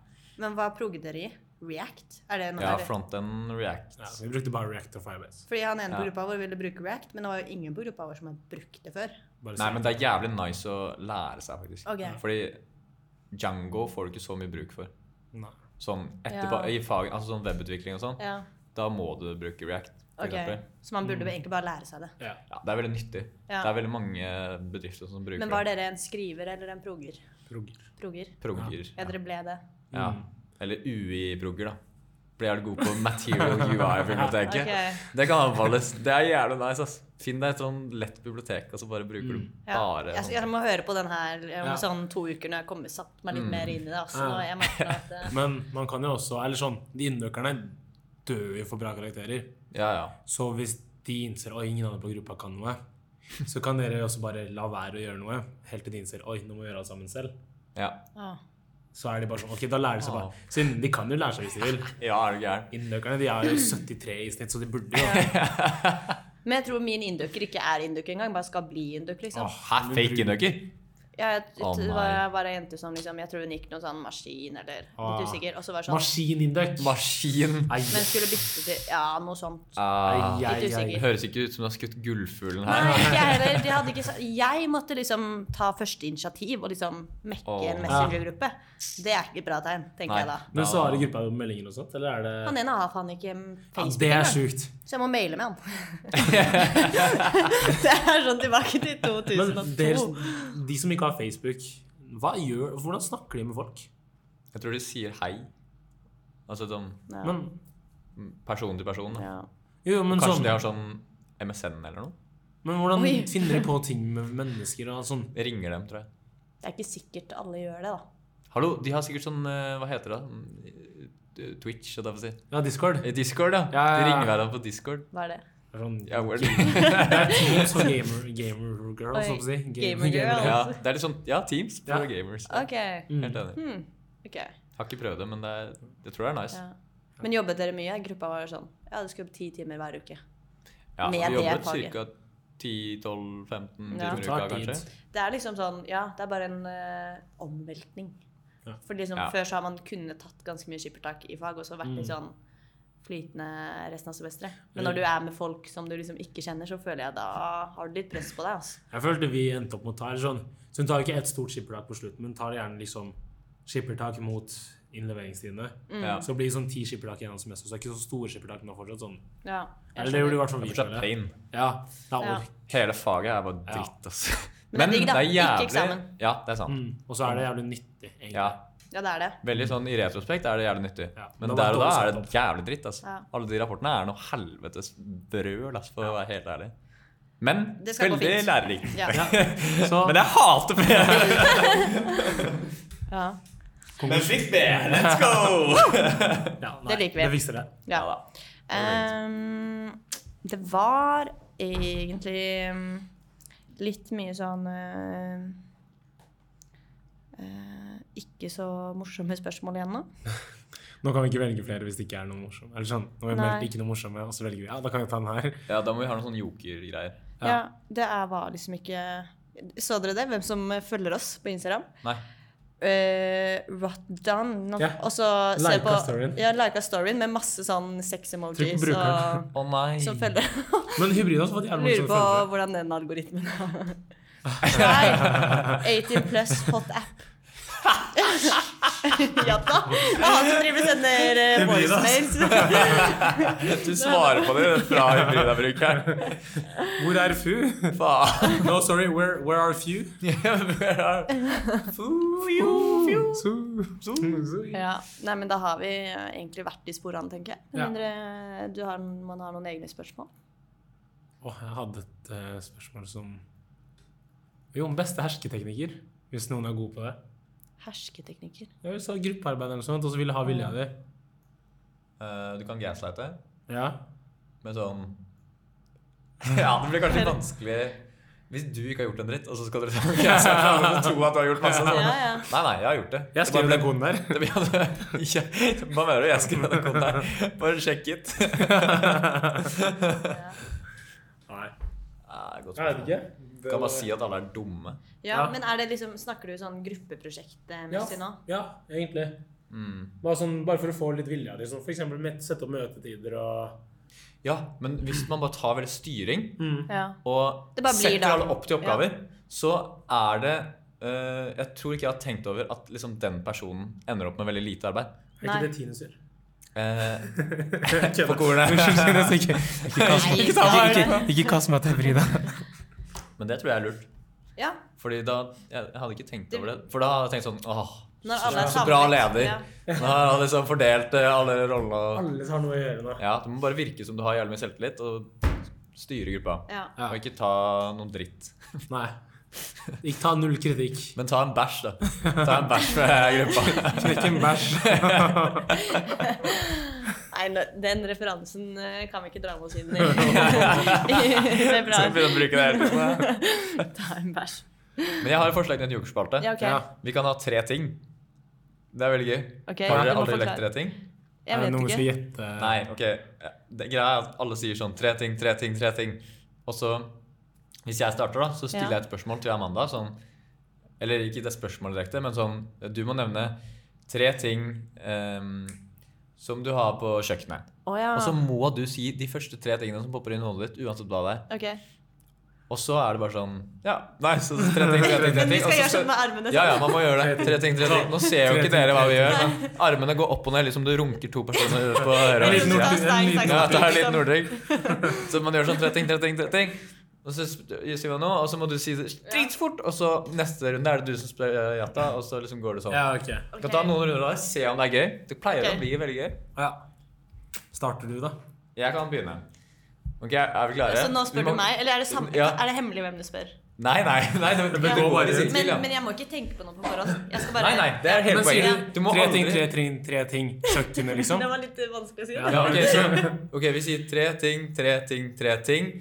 Speaker 1: Men hva progger dere i? React? Er det noe
Speaker 2: Ja,
Speaker 1: er det-
Speaker 2: frontend React.
Speaker 3: ja. Vi brukte bare React og Firebase.
Speaker 1: Fordi han ene på
Speaker 2: Ja.
Speaker 1: gruppa vår ville bruke React, men det var jo ingen på gruppa vår som hadde brukt det før.
Speaker 3: Bare
Speaker 2: Nei,
Speaker 3: se.
Speaker 2: men det er jævlig nice å lære seg, faktisk.
Speaker 1: Ok.
Speaker 2: Fordi Django får du ikke så mye bruk for.
Speaker 3: Nei.
Speaker 2: Sånn etterpå,
Speaker 1: Ja.
Speaker 2: i fag, altså sånn webutvikling og sånn.
Speaker 1: Ja,
Speaker 2: Da må du bruke React, for
Speaker 1: ok.
Speaker 2: eksempel.
Speaker 1: Så man
Speaker 3: Mm.
Speaker 1: burde egentlig bare lære seg det.
Speaker 3: Ja.
Speaker 2: Ja, det er veldig nyttig.
Speaker 1: Ja.
Speaker 2: Det er veldig mange bedrifter som bruker
Speaker 1: Men var dere en skriver eller en proger?
Speaker 3: Progger.
Speaker 1: Proger?
Speaker 2: progger.
Speaker 1: Ja, dere ble det.
Speaker 2: Ja.
Speaker 3: Mm.
Speaker 2: Eller UI-progger, da. Blir jævlig god på
Speaker 1: (laughs)
Speaker 2: Material UI-biblioteket.
Speaker 1: Ok.
Speaker 2: Det kan anbefales. Det er jævlig nice. ass. Finn deg et sånn lett bibliotek, og så bare bruker du
Speaker 1: Ja.
Speaker 2: bare
Speaker 1: Jeg,
Speaker 2: sånn.
Speaker 1: jeg må høre på den her om
Speaker 3: Ja.
Speaker 1: sånn to uker når jeg kommer satt meg
Speaker 2: Mm.
Speaker 1: litt mer inn i det. Altså, nå, jeg merker nå at eh,
Speaker 3: (laughs)
Speaker 1: det
Speaker 3: Men man kan jo også Eller sånn, de innøkerne dør jo for bra karakterer.
Speaker 2: sånn. Ja, ja.
Speaker 3: Så hvis de innser at ingen andre på gruppa kan noe, så kan dere også bare la være å gjøre noe, helt til de innser oi, nå må vi gjøre alt sammen selv.
Speaker 2: Ja,
Speaker 1: Å.
Speaker 3: Så er de bare sånn Ok, da lærer de seg bare.
Speaker 2: Ah.
Speaker 3: Siden de kan jo lære seg hvis de vil.
Speaker 2: ja er du gæren?
Speaker 3: Innløkerne de er jo 73 i snitt, så de burde jo
Speaker 1: Men jeg tror min indukker ikke er indukker engang, bare skal bli indukker, liksom.
Speaker 2: Hæ, fake innucker?
Speaker 1: Jeg, jeg,
Speaker 2: Ah. Å, nei.
Speaker 1: var, jeg var ei jente som liksom Jeg tror hun gikk noe sånn maskin eller
Speaker 3: Ah.
Speaker 1: litt usikker. Og så var det sånn
Speaker 3: Maskinindøk.
Speaker 2: Maskin.
Speaker 3: Nei.
Speaker 1: Men skulle bytte til Ja, noe sånt.
Speaker 2: Ah,
Speaker 3: Ai, ai,
Speaker 1: Litt
Speaker 3: ai.
Speaker 1: usikker.
Speaker 2: det høres ikke ut som du har skutt gullfuglen
Speaker 1: Nei,
Speaker 2: her.
Speaker 1: ikke jeg heller. De hadde ikke sa- jeg måtte liksom ta første initiativ og liksom mekke
Speaker 2: Åh.
Speaker 1: en messengergruppe. Det er ikke et bra tegn, tenker
Speaker 2: Nei.
Speaker 1: jeg da.
Speaker 3: Men svarer gruppa på meldinger og sånt, eller er det
Speaker 1: Han ene har faen ikke
Speaker 3: ja,
Speaker 1: Facebook
Speaker 3: Det er
Speaker 1: engang,
Speaker 3: sjukt.
Speaker 1: så jeg må maile med han. det er sånn tilbake til 2002.
Speaker 3: Men dere, de som ikke har Facebook, hva gjør, hvordan snakker de med folk?
Speaker 2: Jeg tror de sier hei. Altså sånn
Speaker 1: ja.
Speaker 3: Men,
Speaker 2: person til person. da.
Speaker 1: ja.
Speaker 3: jo, men,
Speaker 2: Kanskje
Speaker 3: sånn,
Speaker 2: de har sånn MSN eller noe?
Speaker 3: men hvordan
Speaker 1: Oi.
Speaker 3: finner de på ting med mennesker og sånn?
Speaker 2: Ringer dem, tror jeg.
Speaker 1: Det er ikke sikkert alle gjør det, da.
Speaker 2: Hallo, de har sikkert sånn eh, Hva heter det? da? Twitch, holdt jeg på å si.
Speaker 3: Ja, Discord.
Speaker 2: Eh, Discord, ja.
Speaker 3: Ja, ja, ja.
Speaker 2: De ringer hverandre på Discord.
Speaker 1: Hva er det?
Speaker 3: Det er Sånn,
Speaker 2: Ja,
Speaker 3: (laughs)
Speaker 2: word.
Speaker 3: Teams og gamer, gamer girls,
Speaker 1: Oi,
Speaker 3: holdt jeg på å si.
Speaker 1: gamer girl.
Speaker 2: ja, det er litt sånn Ja, Teams for
Speaker 3: Ja.
Speaker 2: gamers.
Speaker 1: OK.
Speaker 3: Mm.
Speaker 2: Helt enig.
Speaker 1: Hmm. ok.
Speaker 2: Har ikke prøvd det, men det er, jeg tror det er nice.
Speaker 1: Ja. Men jobbet dere mye? Gruppa var sånn Ja, det skulle opp ti timer hver uke.
Speaker 2: Ja,
Speaker 1: Med
Speaker 2: vi
Speaker 1: det
Speaker 2: jobbet
Speaker 1: faget.
Speaker 2: ca. 10-12-15
Speaker 1: Ja.
Speaker 2: timer i
Speaker 3: Det
Speaker 2: uka,
Speaker 3: tar tid.
Speaker 2: kanskje.
Speaker 1: Det er liksom sånn Ja, det er bare en eh, omveltning.
Speaker 3: Ja.
Speaker 1: For liksom,
Speaker 2: Ja.
Speaker 1: før så har man kunnet tatt ganske mye skippertak i fag, og så vært litt sånn flytende resten av semesteret. Men når du er med folk som du liksom ikke kjenner, så føler jeg da har du litt press på deg, altså.
Speaker 3: Jeg følte vi endte opp mot her sånn. Så hun tar ikke ett stort skippertak på slutten, men tar gjerne liksom skippertak mot innleveringstidene.
Speaker 1: Mm.
Speaker 2: Ja.
Speaker 3: Så blir det sånn ti skippertak i en semester, så det er ikke så store skippertak, men det er fortsatt sånn.
Speaker 1: Ja. jeg
Speaker 3: Eller det
Speaker 1: skjønner.
Speaker 3: gjorde i hvert fall
Speaker 2: Det
Speaker 3: vi.
Speaker 2: er fortsatt
Speaker 3: føler jeg.
Speaker 2: pain.
Speaker 3: Ja, det er
Speaker 1: Ja.
Speaker 3: ork.
Speaker 2: Hele faget er bare
Speaker 3: Ja.
Speaker 2: dritt, altså. (laughs)
Speaker 1: Men det er digg, da. Ikke eksamen.
Speaker 2: Ja, det er sant.
Speaker 3: Mm. Og så er det jævlig nyttig, egentlig.
Speaker 2: Ja.
Speaker 1: Ja, det er det.
Speaker 2: Veldig sånn I retrospekt er det jævlig nyttig,
Speaker 3: Ja,
Speaker 2: men
Speaker 3: det var
Speaker 2: der og da
Speaker 3: dårlig
Speaker 2: er det
Speaker 3: satt
Speaker 2: jævlig dritt. Altså.
Speaker 1: Ja.
Speaker 2: Alle de rapportene er noe helvetes brøl, altså, for å være helt ærlig. Men
Speaker 1: Det skal gå
Speaker 2: veldig
Speaker 1: fint.
Speaker 2: lærerikt.
Speaker 1: Ja.
Speaker 3: Så
Speaker 2: Men jeg hater PR!
Speaker 1: (laughs) ja.
Speaker 2: Men fikk B! Let's go!
Speaker 3: ja, nei,
Speaker 1: Det liker vi.
Speaker 3: Det visste det.
Speaker 1: ja.
Speaker 2: Ja da.
Speaker 1: Ehm, det var egentlig mm, litt mye sånn eh, eh, Ikke så morsomme spørsmål igjen nå.
Speaker 3: Nå kan vi ikke velge flere hvis det ikke er noe morsomt. Eller sånn, nå er vi
Speaker 1: Nei.
Speaker 3: meldt ikke noe morsomme, og så velger vi. Ja, da kan vi ta den her.
Speaker 2: (laughs) Ja, da må vi ha noen sånne jokergreier.
Speaker 1: Ja. det er, var liksom ikke Så dere det? Hvem som følger oss på Instagram?
Speaker 2: Nei.
Speaker 1: Uh, Rotdan. No,
Speaker 3: Ja.
Speaker 1: Og så se
Speaker 3: Lika
Speaker 1: på
Speaker 3: storyen.
Speaker 1: Ja, lika storyen med masse sånn
Speaker 3: Trykk på
Speaker 1: sex-emojis
Speaker 3: brukeren.
Speaker 1: og
Speaker 2: Å nei.
Speaker 1: som følger.
Speaker 3: Men Hybrid har også fått jævlig
Speaker 1: Lurer
Speaker 3: morsomme
Speaker 1: på
Speaker 3: følgere.
Speaker 1: hvordan den algoritmen er. Nei. 18 plus hot app. (laughs) ja da. Det er han som driver og sender eh,
Speaker 3: Det altså. blir det,
Speaker 1: voicemails.
Speaker 3: (laughs)
Speaker 2: Du svarer på det
Speaker 1: (laughs)
Speaker 2: fra hybridabrukeren.
Speaker 3: Hvor er Fu?
Speaker 1: (laughs)
Speaker 2: Faen. (laughs)
Speaker 3: No, sorry, where, where are Few?
Speaker 1: ja. Nei, men da har vi eh, egentlig vært i sporene, tenker jeg.
Speaker 3: Ja.
Speaker 1: Med mindre du har, man har noen egne spørsmål.
Speaker 3: Åh, jeg hadde et eh, spørsmål som Jo, om beste hersketeknikker, hvis noen er god på det.
Speaker 1: Hersketeknikker.
Speaker 3: Ja, Hvis du har gruppearbeid eller noe sånt, og så vil jeg ha vilja di.
Speaker 2: Eh, Du kan gaslighte
Speaker 3: Ja.
Speaker 2: med sånn (laughs) Ja, det blir kanskje vanskelig hvis du ikke har gjort en dritt, og så skal
Speaker 1: (laughs)
Speaker 2: dere (laughs) sånn gaslighte alle og tro at du har gjort
Speaker 1: Ja,
Speaker 2: masse. Sånn.
Speaker 1: ja.
Speaker 2: Nei, nei, jeg har gjort det. (laughs)
Speaker 3: Jeg skriver den koden (laughs) der.
Speaker 2: Det blir ja, det- Hva mener du? Jeg skriver den koden der. Bare sjekk it. (laughs)
Speaker 3: Nei.
Speaker 2: Ja, godt
Speaker 3: Jeg vet
Speaker 2: spørsmål.
Speaker 3: ikke.
Speaker 2: Kan bare si at alle er dumme.
Speaker 1: ja,
Speaker 3: Ja.
Speaker 1: men er det liksom, snakker du sånn gruppeprosjektmessig nå?
Speaker 3: Ja, egentlig.
Speaker 2: Mm.
Speaker 3: Bare, sånn, bare for å få litt vilja di. Sånn, for eksempel med- sette opp møtetider og
Speaker 2: Ja, men hvis man bare tar veldig styring,
Speaker 1: Ja.
Speaker 2: og
Speaker 1: Det bare blir
Speaker 2: setter
Speaker 1: da.
Speaker 2: alle opp til oppgaver, så er det eh, Jeg tror ikke jeg har tenkt over at liksom, den personen ender opp med veldig lite arbeid.
Speaker 3: Er ikke
Speaker 1: Nei.
Speaker 3: det Tines (laughs) gjør?
Speaker 2: Eh,
Speaker 3: Kødda.
Speaker 2: På kornet.
Speaker 3: Unnskyld, Tines. Ikke, ikke, kast,
Speaker 1: Nei,
Speaker 3: ikke,
Speaker 1: ta
Speaker 3: ikke,
Speaker 1: det.
Speaker 3: ikke, ikke kast meg til Frida.
Speaker 2: men det tror jeg er lurt.
Speaker 1: ja.
Speaker 2: Fordi da Jeg, jeg hadde ikke tenkt over det. For da hadde jeg tenkt sånn Åh,
Speaker 1: Når alle er
Speaker 2: så bra
Speaker 1: samlet,
Speaker 2: leder.
Speaker 1: ja.
Speaker 2: Nå har han liksom fordelt eh, alle rollene og
Speaker 3: Alle har noe å gjøre nå.
Speaker 2: Ja, det må bare virke som du har jævlig mye selvtillit, og styre gruppa.
Speaker 1: Ja.
Speaker 3: Ja.
Speaker 2: Og ikke ta noe dritt.
Speaker 3: Nei. Ikke ta null kritikk.
Speaker 2: Men ta en bæsj, da. Ta en bæsj med
Speaker 1: (laughs)
Speaker 2: gruppa.
Speaker 3: Knekk en bæsj.
Speaker 1: Nei, nå- den referansen eh, kan vi ikke dra med oss inn i, i
Speaker 2: (laughs) Så vi
Speaker 1: februar.
Speaker 2: begynner å bruke det hele tiden.
Speaker 1: Ta en bæsj.
Speaker 2: Men jeg har et forslag til en jokerspalte.
Speaker 1: Ja, ok.
Speaker 3: Ja.
Speaker 2: Vi kan ha tre ting. Det er veldig gøy.
Speaker 1: Ok,
Speaker 2: har
Speaker 1: du
Speaker 2: dere
Speaker 1: må
Speaker 2: aldri lekt
Speaker 1: forklare.
Speaker 2: tre ting?
Speaker 1: Jeg
Speaker 3: Er det
Speaker 1: vet
Speaker 3: noen som
Speaker 1: ikke.
Speaker 3: gjette
Speaker 2: Nei, ok. Det greia er at alle sier sånn tre ting, tre ting, tre ting. Og så, hvis jeg starter, da, så stiller
Speaker 1: Ja.
Speaker 2: jeg et spørsmål til Amanda sånn Eller ikke det spørsmålet direkte, men sånn Du må nevne tre ting ehm, som du har på kjøkkenet.
Speaker 1: Å ja.
Speaker 2: Og så må du si de første tre tingene som popper inn i hodet ditt, uansett hva det er.
Speaker 1: Ok.
Speaker 2: Og så er det bare sånn Ja, nei, så tre ting, tre ting, tre
Speaker 1: Men vi
Speaker 2: ting. og
Speaker 1: skal
Speaker 2: så-
Speaker 1: gjøre sånn med armene.
Speaker 2: Ja, ja, man må gjøre det. Tre ting, tre ting. Nå ser jo
Speaker 3: Tre
Speaker 2: ikke
Speaker 3: ting,
Speaker 2: dere hva
Speaker 3: tre
Speaker 2: vi gjør. Men armene går opp og ned, liksom du runker to personer på høyre og
Speaker 3: (laughs) En
Speaker 2: høyre
Speaker 3: liten
Speaker 2: side.
Speaker 3: nord- en liten
Speaker 2: Ja, ta litt
Speaker 1: Liksom.
Speaker 2: (laughs) norddrink. Så man gjør sånn tre ting, tre ting, tre ting. Og så sp- sier man noe, og så må du si det dritfort. Og så neste runde er det du som spør eh, Jatta, og så liksom går det sånn.
Speaker 3: Ja, ok.
Speaker 1: Ok.
Speaker 2: Du kan ta noen runder av det, se om det er gøy. Det pleier
Speaker 1: Ok.
Speaker 2: å bli veldig gøy.
Speaker 3: Ja. Starter du, da?
Speaker 2: Jeg kan begynne. Ok, er vi klare?
Speaker 1: Så Altså, nå
Speaker 2: Vi
Speaker 1: spør
Speaker 2: må-
Speaker 1: du meg? Eller er det, samme,
Speaker 2: Ja.
Speaker 1: er det hemmelig hvem du spør?
Speaker 2: Nei, nei. nei det, det, det,
Speaker 1: Ja.
Speaker 2: går bare i sin
Speaker 1: Men,
Speaker 2: tid, ja.
Speaker 1: men jeg må ikke tenke på noe på forhånd. Jeg skal bare
Speaker 2: Nei, nei, det er hele
Speaker 3: Men sier
Speaker 2: poenget. Du må
Speaker 3: Tre ting, tre
Speaker 2: aldri
Speaker 3: ting, tre ting. Kjøkkenet, liksom.
Speaker 1: Det var litt eh, vanskelig å si.
Speaker 2: ja, ok, så, ok, vi sier tre ting, tre ting, tre ting.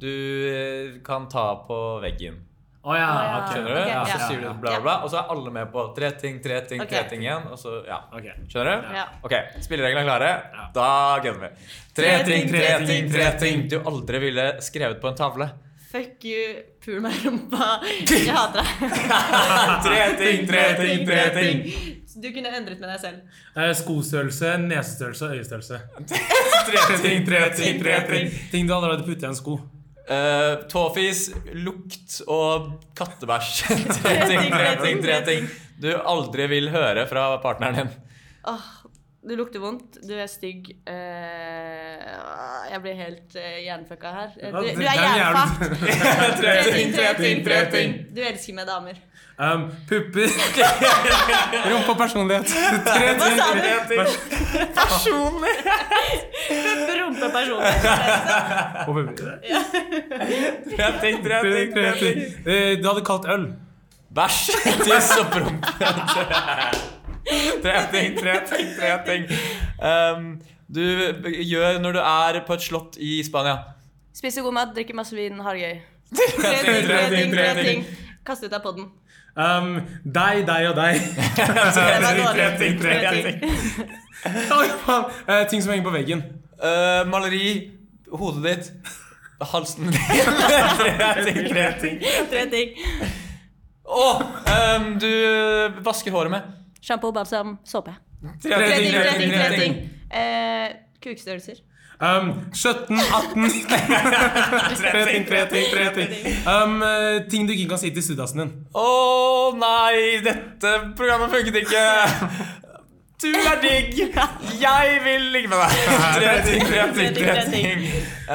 Speaker 2: Du eh, kan ta på veggen.
Speaker 3: Å ja. ok.
Speaker 2: Skjønner du?
Speaker 1: Ok,
Speaker 2: og så
Speaker 1: ja.
Speaker 2: sier du bla, bla, bla, og så er alle med på tre ting, tre ting, tre
Speaker 1: Ok.
Speaker 2: ting igjen. Og så, ja.
Speaker 3: Ok.
Speaker 2: Skjønner du?
Speaker 1: Ja.
Speaker 2: Ok, spillereglene er klare?
Speaker 3: Ja.
Speaker 2: Da gunner vi. Tre ting, tre ting, tre ting du aldri ville skrevet på en tavle.
Speaker 1: Fuck you, pul meg i rumpa. Jeg hater deg.
Speaker 2: Tre ting, tre ting, tre ting.
Speaker 1: Du kunne endret med deg selv.
Speaker 3: Eh, Skostørrelse, nesestørrelse, øyestørrelse.
Speaker 2: Tre ting, tre ting, tre ting.
Speaker 3: Ting du allerede putta i en sko.
Speaker 2: Eh, tåfis, lukt og kattebæsj. (laughs) tre ting, tre ting, tre ting. Du aldri vil høre fra partneren din.
Speaker 1: Åh, du lukter vondt, du er stygg. eh, åh, jeg blir helt uh, jernfucka her. Eh, Du, du
Speaker 3: Det
Speaker 1: er
Speaker 3: er
Speaker 1: jernfucked.
Speaker 3: (laughs)
Speaker 1: Tre ting, tre ting, tre
Speaker 3: tre ting.
Speaker 1: ting. Du elsker meg, damer.
Speaker 3: Um, pupper. Rumpe og personlighet. Tre
Speaker 1: Hva
Speaker 3: ting.
Speaker 1: sa du? (laughs) Personlig. Rumpe personlig.
Speaker 3: Og pupper.
Speaker 2: Tre ting, tre
Speaker 3: Tre
Speaker 2: ting,
Speaker 3: ting, tre ting. Eh, Du hadde kalt øl.
Speaker 2: Bæsj, (laughs) tiss og promp. Tre ting, tre ting, tre ting. Um, du gjør når du er på et slott i Spania.
Speaker 1: Spiser god mat, drikker masse vin, har det gøy. Tre ting, tre ting, tre ting. Kast ut av podden.
Speaker 3: Um, deg, deg og (laughs) deg.
Speaker 1: Det var dårlig.
Speaker 2: Tre ting, tre ting, tre ting.
Speaker 3: Oi, faen. Eh, ting som henger på veggen.
Speaker 2: Uh, maleri, hodet ditt, halsen (laughs) din. Tre ting, tre ting.
Speaker 1: (laughs) Tre ting.
Speaker 2: Og um, du vasker håret med.
Speaker 1: Sjampo, balsam, såpe.
Speaker 2: Tre
Speaker 1: Tre ting, tre ting, tre ting. Eh, (laughs) kukstørrelser.
Speaker 3: Um, 17, 18. Tre ting, tre ting, tre ting. Um, eh, ting du ikke kan si til studdasen din.
Speaker 2: Å nei, dette programmet funket ikke. Du er digg. Jeg vil ligge med deg. Tre ting, tre ting, tre ting.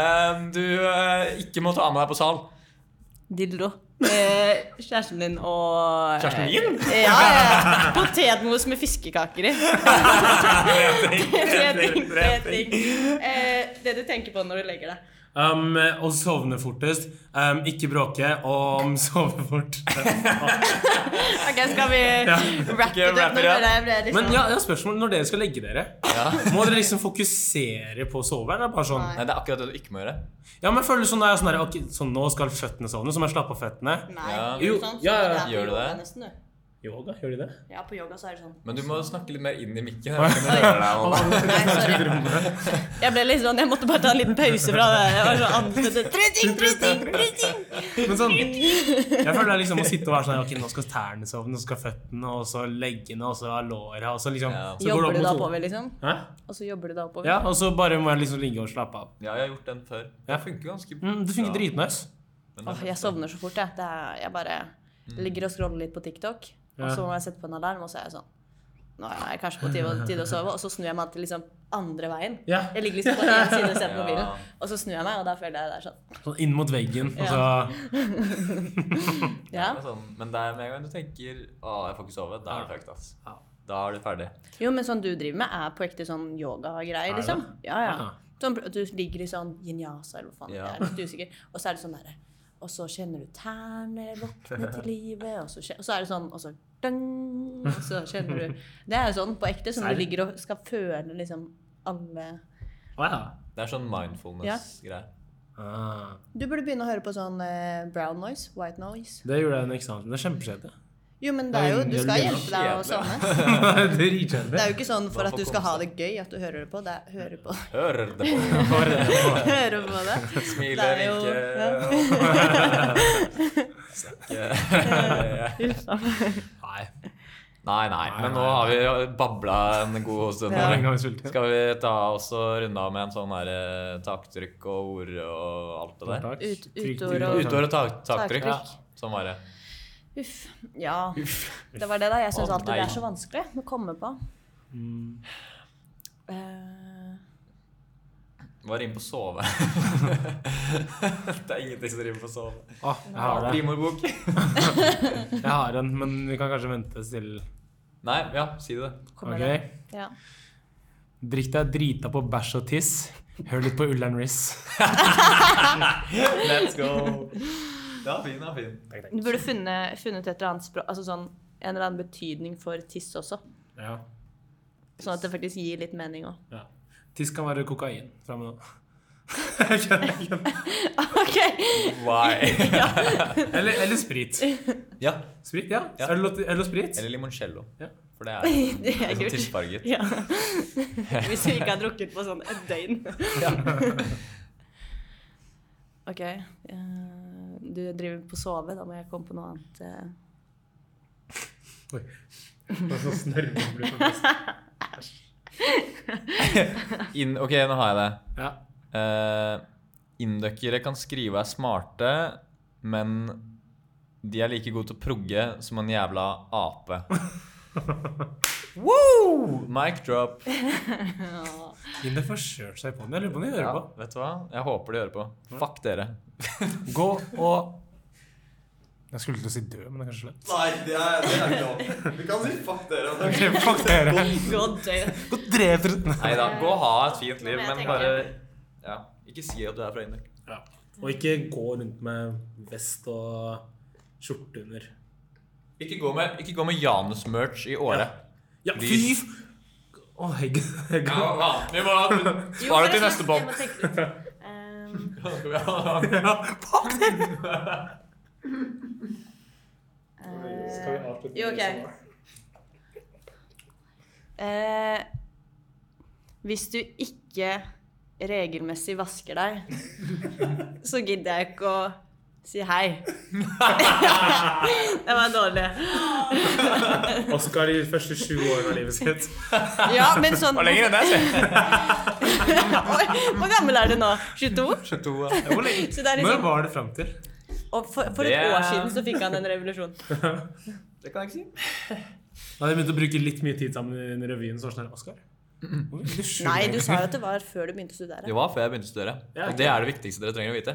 Speaker 2: Um, du eh, ikke må ta med deg på sal.
Speaker 1: Dildo. Eh, kjæresten din og
Speaker 2: Kjæresten min?
Speaker 1: Eh, Ja, ja,
Speaker 2: (laughs)
Speaker 1: ja. Potetmos med fiskekaker i. Tre ting, tre ting. Eh, det du tenker på når du legger deg.
Speaker 3: Um, og sovne fortest. Um, ikke bråke og (laughs) sove fort.
Speaker 1: Ok, skal vi wrap
Speaker 2: Ok,
Speaker 1: it up?
Speaker 2: wrap
Speaker 1: Nå
Speaker 2: it
Speaker 1: føler jeg
Speaker 2: up.
Speaker 1: ble litt
Speaker 3: Men
Speaker 1: sånn-
Speaker 3: ja, jeg har spørsmål når dere skal legge dere. Må dere liksom fokusere på soveren? Det er bare sånn
Speaker 1: Nei.
Speaker 2: Nei, det er akkurat det du ikke må gjøre.
Speaker 3: Ja, men jeg føler sånn, det er sånn, der, ok, sånn nå skal føttene sovne, så må jeg slappe av føttene.
Speaker 1: Nei,
Speaker 2: Ja.
Speaker 1: gjør du
Speaker 3: Jo,
Speaker 1: sånn, så
Speaker 3: ja, ja.
Speaker 1: er på
Speaker 2: Gjør du
Speaker 1: yoga
Speaker 2: det?
Speaker 1: nesten, du.
Speaker 3: Yoga, gjør de det?
Speaker 1: Ja, på yoga så er det sånn.
Speaker 2: Men du må snakke litt mer inn i mikken. Jeg kan ikke høre deg, Anna.
Speaker 1: Nei, sorry. Jeg ble litt sånn, jeg måtte bare ta en liten pause fra det. Jeg var sånn andputet. Tre ting, tre ting, tre ting!
Speaker 3: (laughs) Men sånn, jeg føler det er liksom å sitte og være sånn, ok, nå skal tærne sovne, så skal føttene, og så leggene, og så låret, og så liksom.
Speaker 2: Ja.
Speaker 3: Så går
Speaker 1: Jobber du da
Speaker 3: det opp mot solen.
Speaker 1: oppover, liksom?
Speaker 3: Hæ?
Speaker 1: Og så jobber du da oppover?
Speaker 3: Ja, og så bare må jeg liksom ligge og slappe av.
Speaker 2: Ja, jeg har gjort den før. Det funker ganske
Speaker 3: Mm, det funker dritnøys.
Speaker 2: Men
Speaker 1: Åh, jeg sovner så fort, jeg. Det er, jeg bare
Speaker 3: Mm.
Speaker 1: ligger og scroller litt på TikTok, og så må jeg sette på en alarm, og så er jeg sånn Nå er jeg kanskje på tide, tide å sove, og så snur jeg meg til liksom andre veien.
Speaker 3: Ja.
Speaker 1: Jeg ligger liksom på
Speaker 3: (laughs)
Speaker 1: én side og ser på mobilen,
Speaker 2: Ja.
Speaker 1: og så snur jeg meg, og da føler jeg det er sånn
Speaker 3: Sånn inn mot veggen, og så...
Speaker 1: Ja.
Speaker 2: det
Speaker 1: Ja.
Speaker 2: er sånn, men det er med en gang du tenker Å, jeg får ikke sove. Da er det fucked, ass.
Speaker 3: Ja.
Speaker 2: Da er du ferdig.
Speaker 1: Jo, men sånn du driver med, er på ekte sånn yoga-greier,
Speaker 3: det?
Speaker 1: liksom. Ja, ja.
Speaker 3: Ja.
Speaker 1: Sånn, at du ligger i sånn vinyasa eller hva faen.
Speaker 2: Ja.
Speaker 1: Jeg er litt usikker. Og så er det sånn derre Og så kjenner du tærne våkne til live, og så, kje- og så er det sånn Og så dang, og så kjenner du Det er jo sånn på ekte, som du
Speaker 3: Serr?
Speaker 1: ligger og skal føle liksom alle
Speaker 3: Å ja.
Speaker 2: Det er sånn mindfulness-greie.
Speaker 3: Ah.
Speaker 1: Du burde begynne å høre på sånn eh, brown noise, white noise.
Speaker 3: Det gjorde jeg i den eksamen, det er kjempeskjedelig.
Speaker 1: Jo, men det er jo Du skal hjelpe deg å sovne.
Speaker 3: (laughs) det er
Speaker 1: Det
Speaker 3: dritkjedelig.
Speaker 1: er jo ikke sånn for at du skal ha det gøy at du hører det på. Det er hører på (laughs)
Speaker 2: Hører det på.
Speaker 3: (laughs)
Speaker 1: Hører på det.
Speaker 2: Smiler,
Speaker 1: (laughs) Det er jo-
Speaker 2: vinker.
Speaker 3: Nei.
Speaker 2: (laughs) Nei, nei, men nå har vi babla en god stund.
Speaker 3: Hvor lenge
Speaker 2: her.
Speaker 3: har vi sultet?
Speaker 2: Skal vi ta også runde av med en sånn her eh, taktrykk og ord og alt det der?
Speaker 3: Takk.
Speaker 1: Ut-
Speaker 3: Trykk,
Speaker 1: utord
Speaker 3: trykk,
Speaker 1: og-
Speaker 3: trykk.
Speaker 2: Utår og tak, taktrykk.
Speaker 1: Taktrykk.
Speaker 2: Sånn var det.
Speaker 1: Uff. Ja. Det var det, da. Jeg syns
Speaker 2: Å,
Speaker 1: alltid det
Speaker 2: nei.
Speaker 1: er så vanskelig å komme på.
Speaker 3: Mm.
Speaker 1: Eh,
Speaker 2: Var inne på sove. (laughs) det er ingenting som rimer på sove.
Speaker 3: Å, Ah, jeg har det.
Speaker 2: Rimordbok.
Speaker 3: Jeg har en, men vi kan kanskje vente til
Speaker 2: Nei, ja, si det.
Speaker 1: kommer
Speaker 3: Ok.
Speaker 1: det. Ja.
Speaker 3: Drikk deg drita på bæsj og tiss. Hør litt på Ullern Riss.
Speaker 2: Let's go. Ja, fin, ja, fin.
Speaker 1: Du burde funnet, funnet et eller annet språk Altså sånn en eller annen betydning for tiss også.
Speaker 3: Ja.
Speaker 1: Sånn at det faktisk gir litt mening òg.
Speaker 3: ja. Tiss kan være kokain fra og med nå. (laughs) Jeg skjønner ikke.
Speaker 1: (laughs) OK!
Speaker 2: Why?
Speaker 3: eller, eller sprit.
Speaker 2: ja,
Speaker 3: Sprit, ja.
Speaker 2: Ja.
Speaker 3: Øl, og, øl og sprit.
Speaker 2: eller limoncello.
Speaker 3: Ja.
Speaker 2: For det er
Speaker 1: Det er
Speaker 2: sånn
Speaker 1: kult.
Speaker 2: tidsfarget. (laughs)
Speaker 1: Ja. Hvis vi ikke har drukket på sånn et døgn. (laughs) OK. eh, Du driver på sove, da må jeg komme på noe annet.
Speaker 2: (laughs)
Speaker 1: eh. (laughs)
Speaker 3: Oi. Det er så snørmen blir for
Speaker 2: Inn, ok, nå har jeg det.
Speaker 3: Ja.
Speaker 2: Eh, Indøkere kan skrive og er smarte, men de er like gode til å progge som en jævla ape. Woo! Mic drop.
Speaker 3: Inn det får kjørt seg på den. Jeg lurer på om de hører
Speaker 2: Ja, vet du hva? Jeg håper de hører på. Fuck dere.
Speaker 3: på. Gå og Jeg skulle til å si dø, men det er kanskje slett.
Speaker 2: Nei, det er, ikke lov. Du kan si fuck dere.
Speaker 3: Ok, (laughs) Fuck dere.
Speaker 1: God døgn.
Speaker 3: Gå og drep dere.
Speaker 2: Nei da, gå og ha et fint liv,
Speaker 1: Nå må jeg
Speaker 2: men
Speaker 1: tenke.
Speaker 2: bare ja, Ikke si at du er fra Indøk.
Speaker 3: Ja. Og ikke gå rundt med vest og skjorte under.
Speaker 2: Ikke gå med, ikke gå med Janus-merch i året.
Speaker 3: Ja, fy
Speaker 2: Lys.
Speaker 3: f... Å, hegg. hegg.
Speaker 2: vi må spar det til neste bånd.
Speaker 1: Um,
Speaker 3: Fuck dere!
Speaker 1: Jo, ok. Eh, hvis du ikke regelmessig vasker deg, så gidder jeg ikke å si hei. det var dårlig.
Speaker 3: Oskar de første sju årene av livet sitt.
Speaker 1: Ja, men sånn
Speaker 2: Var lenger enn
Speaker 1: (laughs)
Speaker 2: det, sier jeg.
Speaker 1: Oi, Hvor gammel er du nå? 22?
Speaker 2: Skjønte hun, ja.
Speaker 3: Hvor lenge?
Speaker 1: Så det er
Speaker 3: Når
Speaker 1: liksom,
Speaker 3: var det fram til?
Speaker 1: og for, for
Speaker 2: Det-
Speaker 1: et år siden så fikk han en revolusjon.
Speaker 2: Det kan jeg ikke si.
Speaker 3: Da hadde jeg begynt å bruke litt mye tid sammen under revyen. Så var det sånn her, Oskar? hvor er det sju
Speaker 1: Nei, du
Speaker 3: år?
Speaker 1: sa jo at det var før du begynte å studere.
Speaker 2: Det var før jeg begynte å studere.
Speaker 3: Ja,
Speaker 2: Og det er det viktigste dere trenger å vite.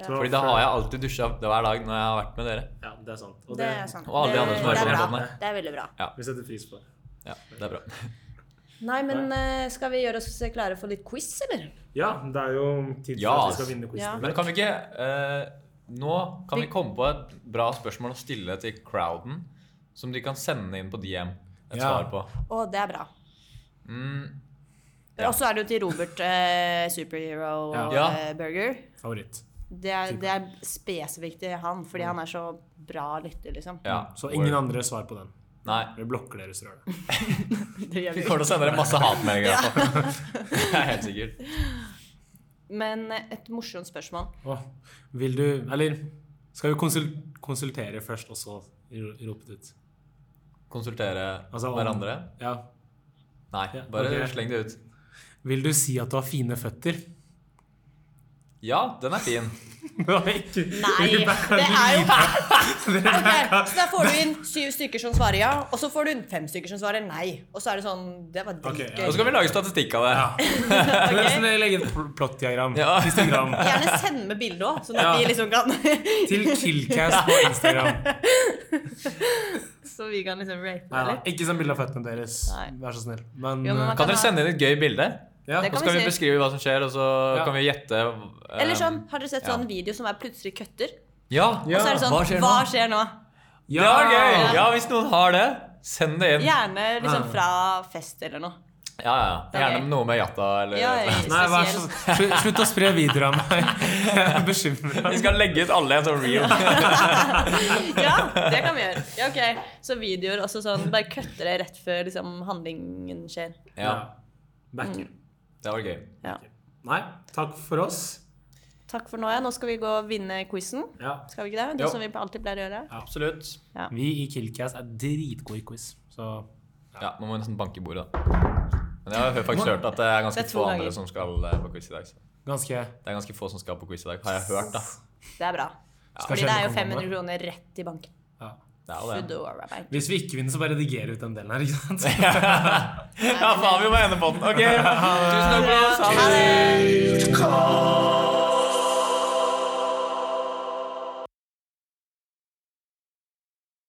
Speaker 1: Ja.
Speaker 2: Fordi da har jeg alltid dusja hver dag når jeg har vært med dere.
Speaker 3: Ja, det er sant. Og
Speaker 1: Det er sant.
Speaker 2: Og alle de andre som
Speaker 1: Det-
Speaker 2: hører på
Speaker 1: det er bra.
Speaker 2: den podden her.
Speaker 1: Det er veldig bra.
Speaker 3: Vi setter pris på det.
Speaker 2: Ja, det er bra.
Speaker 1: Nei, men eh, skal vi gjøre oss klare for litt quiz, eller?
Speaker 3: Ja, det er jo tid for
Speaker 2: Ja,
Speaker 3: at vi skal vinne
Speaker 1: Ja.
Speaker 3: quizen.
Speaker 2: Men kan vi ikke eh, Nå kan vi komme på et bra spørsmål å stille til crowden, som de kan sende inn på DM et
Speaker 3: Ja.
Speaker 2: svar på.
Speaker 1: Å, det er bra.
Speaker 2: Mm,
Speaker 1: Men også er det jo til Robert eh, Superhero
Speaker 3: Ja.
Speaker 2: Ja.
Speaker 1: eh, Burger.
Speaker 3: Favoritt.
Speaker 1: Det er, det er spesifikt til han, fordi han er så bra lytter, liksom.
Speaker 2: ja.
Speaker 3: Så ingen andre svar på den.
Speaker 2: Nei.
Speaker 3: Vi blokker deres rør. da.
Speaker 1: (laughs) Det gjør vi
Speaker 2: Vi
Speaker 1: ikke.
Speaker 2: kommer til å sende dere masse hatmeldinger. altså. (laughs) Det er helt sikkert.
Speaker 1: Men eh, et morsomt spørsmål.
Speaker 2: (laughs)
Speaker 3: Åh, Vil du Eller skal vi konsul konsultere først, og så ro- rope det ut?
Speaker 2: Konsultere
Speaker 3: Altså, om-
Speaker 2: hverandre?
Speaker 3: Ja.
Speaker 2: Nei,
Speaker 3: Ja,
Speaker 2: bare
Speaker 3: ok.
Speaker 2: sleng det ut.
Speaker 3: Vil du si at du har fine føtter? (laughs)
Speaker 2: Ja, den er fin.
Speaker 1: Nei!
Speaker 3: Nei!
Speaker 1: (laughs) Det er jo Ok, Så da får du inn syv stykker som svarer ja, og så får du inn fem stykker som svarer nei. Og så er det sånn Det var
Speaker 3: Ok, ja.
Speaker 1: dritgøy.
Speaker 2: Nå skal vi lage statistikk av det.
Speaker 3: Nesten legge et pl- plottdiagram.
Speaker 2: Ja.
Speaker 3: Instagram.
Speaker 1: Gjerne send med bilde òg, sånn
Speaker 3: Ja.
Speaker 1: at vi liksom kan (laughs)
Speaker 3: Til Killcast på Instagram.
Speaker 1: Så vi kan liksom rate det
Speaker 3: Neida,
Speaker 1: litt.
Speaker 3: ikke send bilde av føttene deres,
Speaker 1: Nei.
Speaker 3: vær så snill. Men,
Speaker 1: Jo, men man
Speaker 2: Kan dere
Speaker 1: ha-
Speaker 2: sende inn et gøy bilde?
Speaker 3: ja.
Speaker 1: Det
Speaker 2: Og
Speaker 1: kan
Speaker 2: så kan
Speaker 1: vi
Speaker 2: vi
Speaker 1: si.
Speaker 2: beskrive hva som skjer, og så
Speaker 3: Ja.
Speaker 2: kan vi gjette. eh,
Speaker 1: Eller sånn, har dere sett
Speaker 2: ja.
Speaker 1: sånn video som er plutselig kutter?
Speaker 2: Ja,
Speaker 1: Og så er det sånn Hva skjer nå?
Speaker 2: Det var gøy! Ja, hvis noen har det, send det inn. Ja,
Speaker 1: Gjerne liksom fra fest eller noe.
Speaker 2: ja.
Speaker 1: Det er
Speaker 2: Gjerne
Speaker 1: gøy.
Speaker 2: noe med jatta eller
Speaker 1: Ja, ja,
Speaker 3: Nei, vær så,
Speaker 1: spesielt.
Speaker 3: slutt, slutt å spre videoer av meg. Jeg er bekymra.
Speaker 2: (laughs) Vi skal legge ut alle i en sånn reel.
Speaker 1: (laughs) Ja, det kan vi gjøre. Ja, ok. Så videoer også sånn, bare kutter det rett før liksom, handlingen skjer.
Speaker 2: Ja,
Speaker 3: Backer.
Speaker 2: det var gøy.
Speaker 1: Ja.
Speaker 3: Nei, takk for oss.
Speaker 1: Takk for nå. ja. Nå skal vi gå og vinne quizen.
Speaker 3: Ja.
Speaker 1: Skal vi ikke det? Det
Speaker 2: Jo.
Speaker 1: som vi alltid pleier å gjøre.
Speaker 2: Absolutt.
Speaker 3: Vi i Killcast er dritgode i quiz, så
Speaker 2: Ja, nå må vi nesten banke i bordet, da. Men jeg har faktisk hørt at det er ganske
Speaker 1: Det er to
Speaker 2: få
Speaker 1: ganger.
Speaker 2: andre som skal eh, på quiz i dag. Så.
Speaker 3: ganske
Speaker 2: Det er ganske få som skal på quiz i dag, har jeg hørt, da.
Speaker 1: Det er bra.
Speaker 3: Skal
Speaker 1: Fordi det er
Speaker 3: sjeldent
Speaker 1: jo
Speaker 3: komme.
Speaker 1: 500 kroner rett i banken.
Speaker 3: ja.
Speaker 2: Det er (laughs) jo det.
Speaker 1: Foodora Bank.
Speaker 3: Hvis vi ikke vinner, så bare redigerer vi ut den delen her, ikke sant?
Speaker 2: Ja, faen, vi var ene på den. Ok, tusen takk for oss. Ha det.
Speaker 1: Ha det!
Speaker 4: Call.